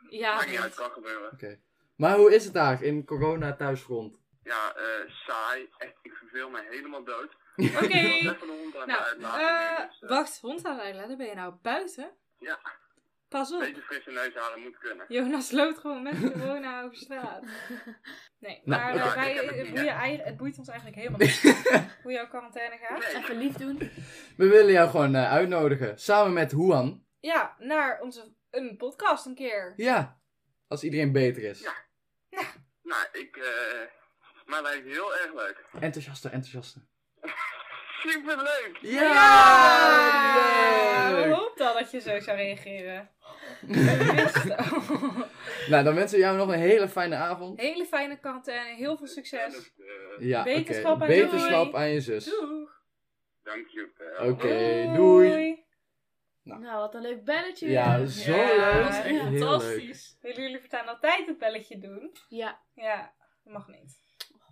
Speaker 5: Ja,
Speaker 3: Maakt niet uit,
Speaker 5: goed.
Speaker 3: kan gebeuren.
Speaker 2: Maar hoe is het daar in corona thuisfront?
Speaker 3: Ja, eh, saai. Echt, ik verveel me helemaal dood.
Speaker 5: Oké.
Speaker 3: Ik wil even de hond aan
Speaker 5: Nou,
Speaker 3: uitlaten.
Speaker 5: eh,
Speaker 3: nu, dus, eh,
Speaker 5: wacht, hond aan uitlaten. Ben je nou buiten?
Speaker 3: Ja.
Speaker 5: Pas
Speaker 3: Een
Speaker 5: op.
Speaker 3: beetje frisse neus halen moet kunnen.
Speaker 5: Jonas loopt gewoon met corona over straat. Nee,
Speaker 2: Nou,
Speaker 5: maar
Speaker 3: oké.
Speaker 5: eh, wij,
Speaker 3: Ja, ik heb
Speaker 5: het,
Speaker 3: het niet,
Speaker 5: boeit
Speaker 3: hè.
Speaker 5: eigen- het boeit ons eigenlijk helemaal niet hoe jouw quarantaine gaat.
Speaker 3: Nee,
Speaker 1: Even lief doen.
Speaker 2: We willen jou gewoon eh, uitnodigen. Samen met Juan.
Speaker 5: Ja, naar onze een podcast een keer.
Speaker 2: Ja. Als iedereen beter is.
Speaker 3: Ja. nou, ik... eh mij lijkt heel erg leuk.
Speaker 2: Enthousiaster, enthousiaster.
Speaker 3: Superleuk!
Speaker 2: Ja!
Speaker 5: Ja!
Speaker 2: Leuk!
Speaker 5: We hoopten al dat je zo zou reageren. We wisten.
Speaker 2: Nou, dan wensen we jou nog een hele fijne avond.
Speaker 5: Hele fijne quarantaine, heel veel succes.
Speaker 3: En, eh,
Speaker 2: Ja, oké.
Speaker 5: Beterschap aan
Speaker 2: Beterschap
Speaker 5: jullie.
Speaker 2: aan je zus.
Speaker 5: Doeg!
Speaker 3: Dank je wel.
Speaker 2: Oké, doei.
Speaker 1: Nou, wat een leuk belletje.
Speaker 2: Ja, dus-
Speaker 1: weer.
Speaker 2: zo
Speaker 5: Ja,
Speaker 2: leuk.
Speaker 5: dat is
Speaker 2: Echt
Speaker 5: echt
Speaker 2: heel leuk.
Speaker 4: fantastisch.
Speaker 5: Willen jullie voortaan altijd het belletje doen?
Speaker 1: Ja.
Speaker 5: Ja, dat mag niet.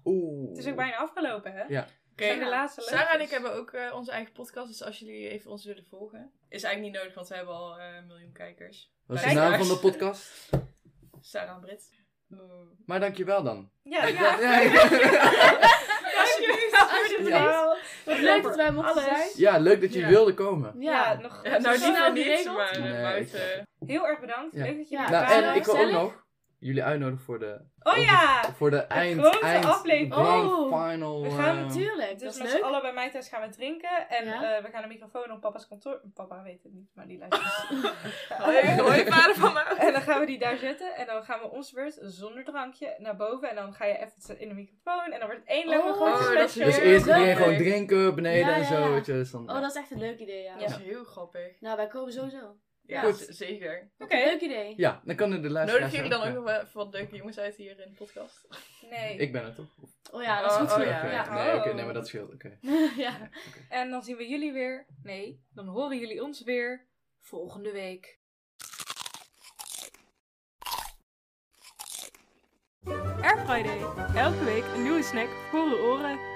Speaker 2: Oeh.
Speaker 5: Het is ook bijna afgelopen, hè?
Speaker 2: Ja.
Speaker 4: Oké.
Speaker 5: Zijn de laatste
Speaker 4: Sarah en ik
Speaker 5: leukjes.
Speaker 4: hebben ook eh, onze eigen podcast, dus als jullie even ons willen volgen. Is eigenlijk niet nodig, want we hebben al eh, een miljoen kijkers.
Speaker 2: Wat is de
Speaker 4: Kijk
Speaker 2: naam
Speaker 4: maar.
Speaker 2: van de podcast?
Speaker 4: Sarah en Brit.
Speaker 2: Maar dankjewel dan.
Speaker 5: Ja, ja.
Speaker 2: Ja, ja.
Speaker 5: Alsjeblieft,
Speaker 1: Alsjeblieft.
Speaker 5: Ja.
Speaker 1: Wat leuk dat wij mochten
Speaker 5: Alles.
Speaker 1: zijn.
Speaker 2: Ja, leuk dat je
Speaker 4: Ja.
Speaker 2: wilde komen.
Speaker 5: Ja,
Speaker 1: Ja.
Speaker 5: nog
Speaker 4: Ja, nou,
Speaker 1: Zo
Speaker 4: die
Speaker 1: snel
Speaker 4: van niet,
Speaker 1: geregeld?
Speaker 4: maar eh,
Speaker 2: Nee,
Speaker 4: buiten.
Speaker 5: heel erg bedankt.
Speaker 2: Ja.
Speaker 5: Leuk dat je
Speaker 1: Ja.
Speaker 5: er
Speaker 2: Nou,
Speaker 5: waren.
Speaker 2: en ik wil ook
Speaker 1: Gezellig.
Speaker 2: nog jullie uitnodigen voor de,
Speaker 5: Oh ja!
Speaker 2: voor de eind,
Speaker 5: grote
Speaker 2: eind
Speaker 5: aflevering.
Speaker 2: grand
Speaker 1: Oh.
Speaker 2: final.
Speaker 5: We gaan
Speaker 2: eh,
Speaker 1: Natuurlijk, dat
Speaker 5: Dus
Speaker 1: is
Speaker 5: met z'n
Speaker 1: leuk.
Speaker 5: allen bij mij thuis gaan we drinken. En
Speaker 1: Ja.
Speaker 5: eh, we gaan de microfoon op papa's kantoor. Papa weet het niet, maar die luistert.
Speaker 4: Hoi, hoi, vader van mij.
Speaker 5: En dan gaan we die daar zetten. En dan gaan we ons beurt zonder drankje naar boven. En dan ga je even in de microfoon. En dan wordt het één lange
Speaker 1: Oh,
Speaker 5: grote
Speaker 1: dat
Speaker 4: is
Speaker 5: special.
Speaker 2: Dus
Speaker 4: Heel
Speaker 2: eerst
Speaker 1: leuk.
Speaker 2: iedereen gewoon drinken beneden
Speaker 1: Ja,
Speaker 2: en
Speaker 1: ja,
Speaker 2: zo.
Speaker 1: ja.
Speaker 2: Weet je, dus dan,
Speaker 1: Oh, dat is echt een leuk idee, ja.
Speaker 4: Dat is heel grappig.
Speaker 1: Nou, wij komen sowieso.
Speaker 4: Ja,
Speaker 2: Goed.
Speaker 4: z- zeker.
Speaker 5: Oké.
Speaker 1: Oké. Leuk idee.
Speaker 2: Ja, dan kunnen de luisteraars...
Speaker 4: Nodig jullie dan ook
Speaker 2: ja.
Speaker 4: nog wel even wat leuke jongens uit hier in de podcast?
Speaker 5: Nee.
Speaker 2: Ik ben het toch?
Speaker 1: Oh ja, dat is
Speaker 4: Oh,
Speaker 1: goed
Speaker 4: oh
Speaker 1: voor
Speaker 2: Oké,
Speaker 1: je.
Speaker 4: ja.
Speaker 1: ja.
Speaker 2: Nee,
Speaker 5: Oh.
Speaker 2: oké, nee, maar dat scheelt. Oké.
Speaker 1: ja.
Speaker 5: En dan zien we jullie weer. Nee, dan horen jullie ons weer volgende week. Air Friday. Elke week een nieuwe snack voor de oren.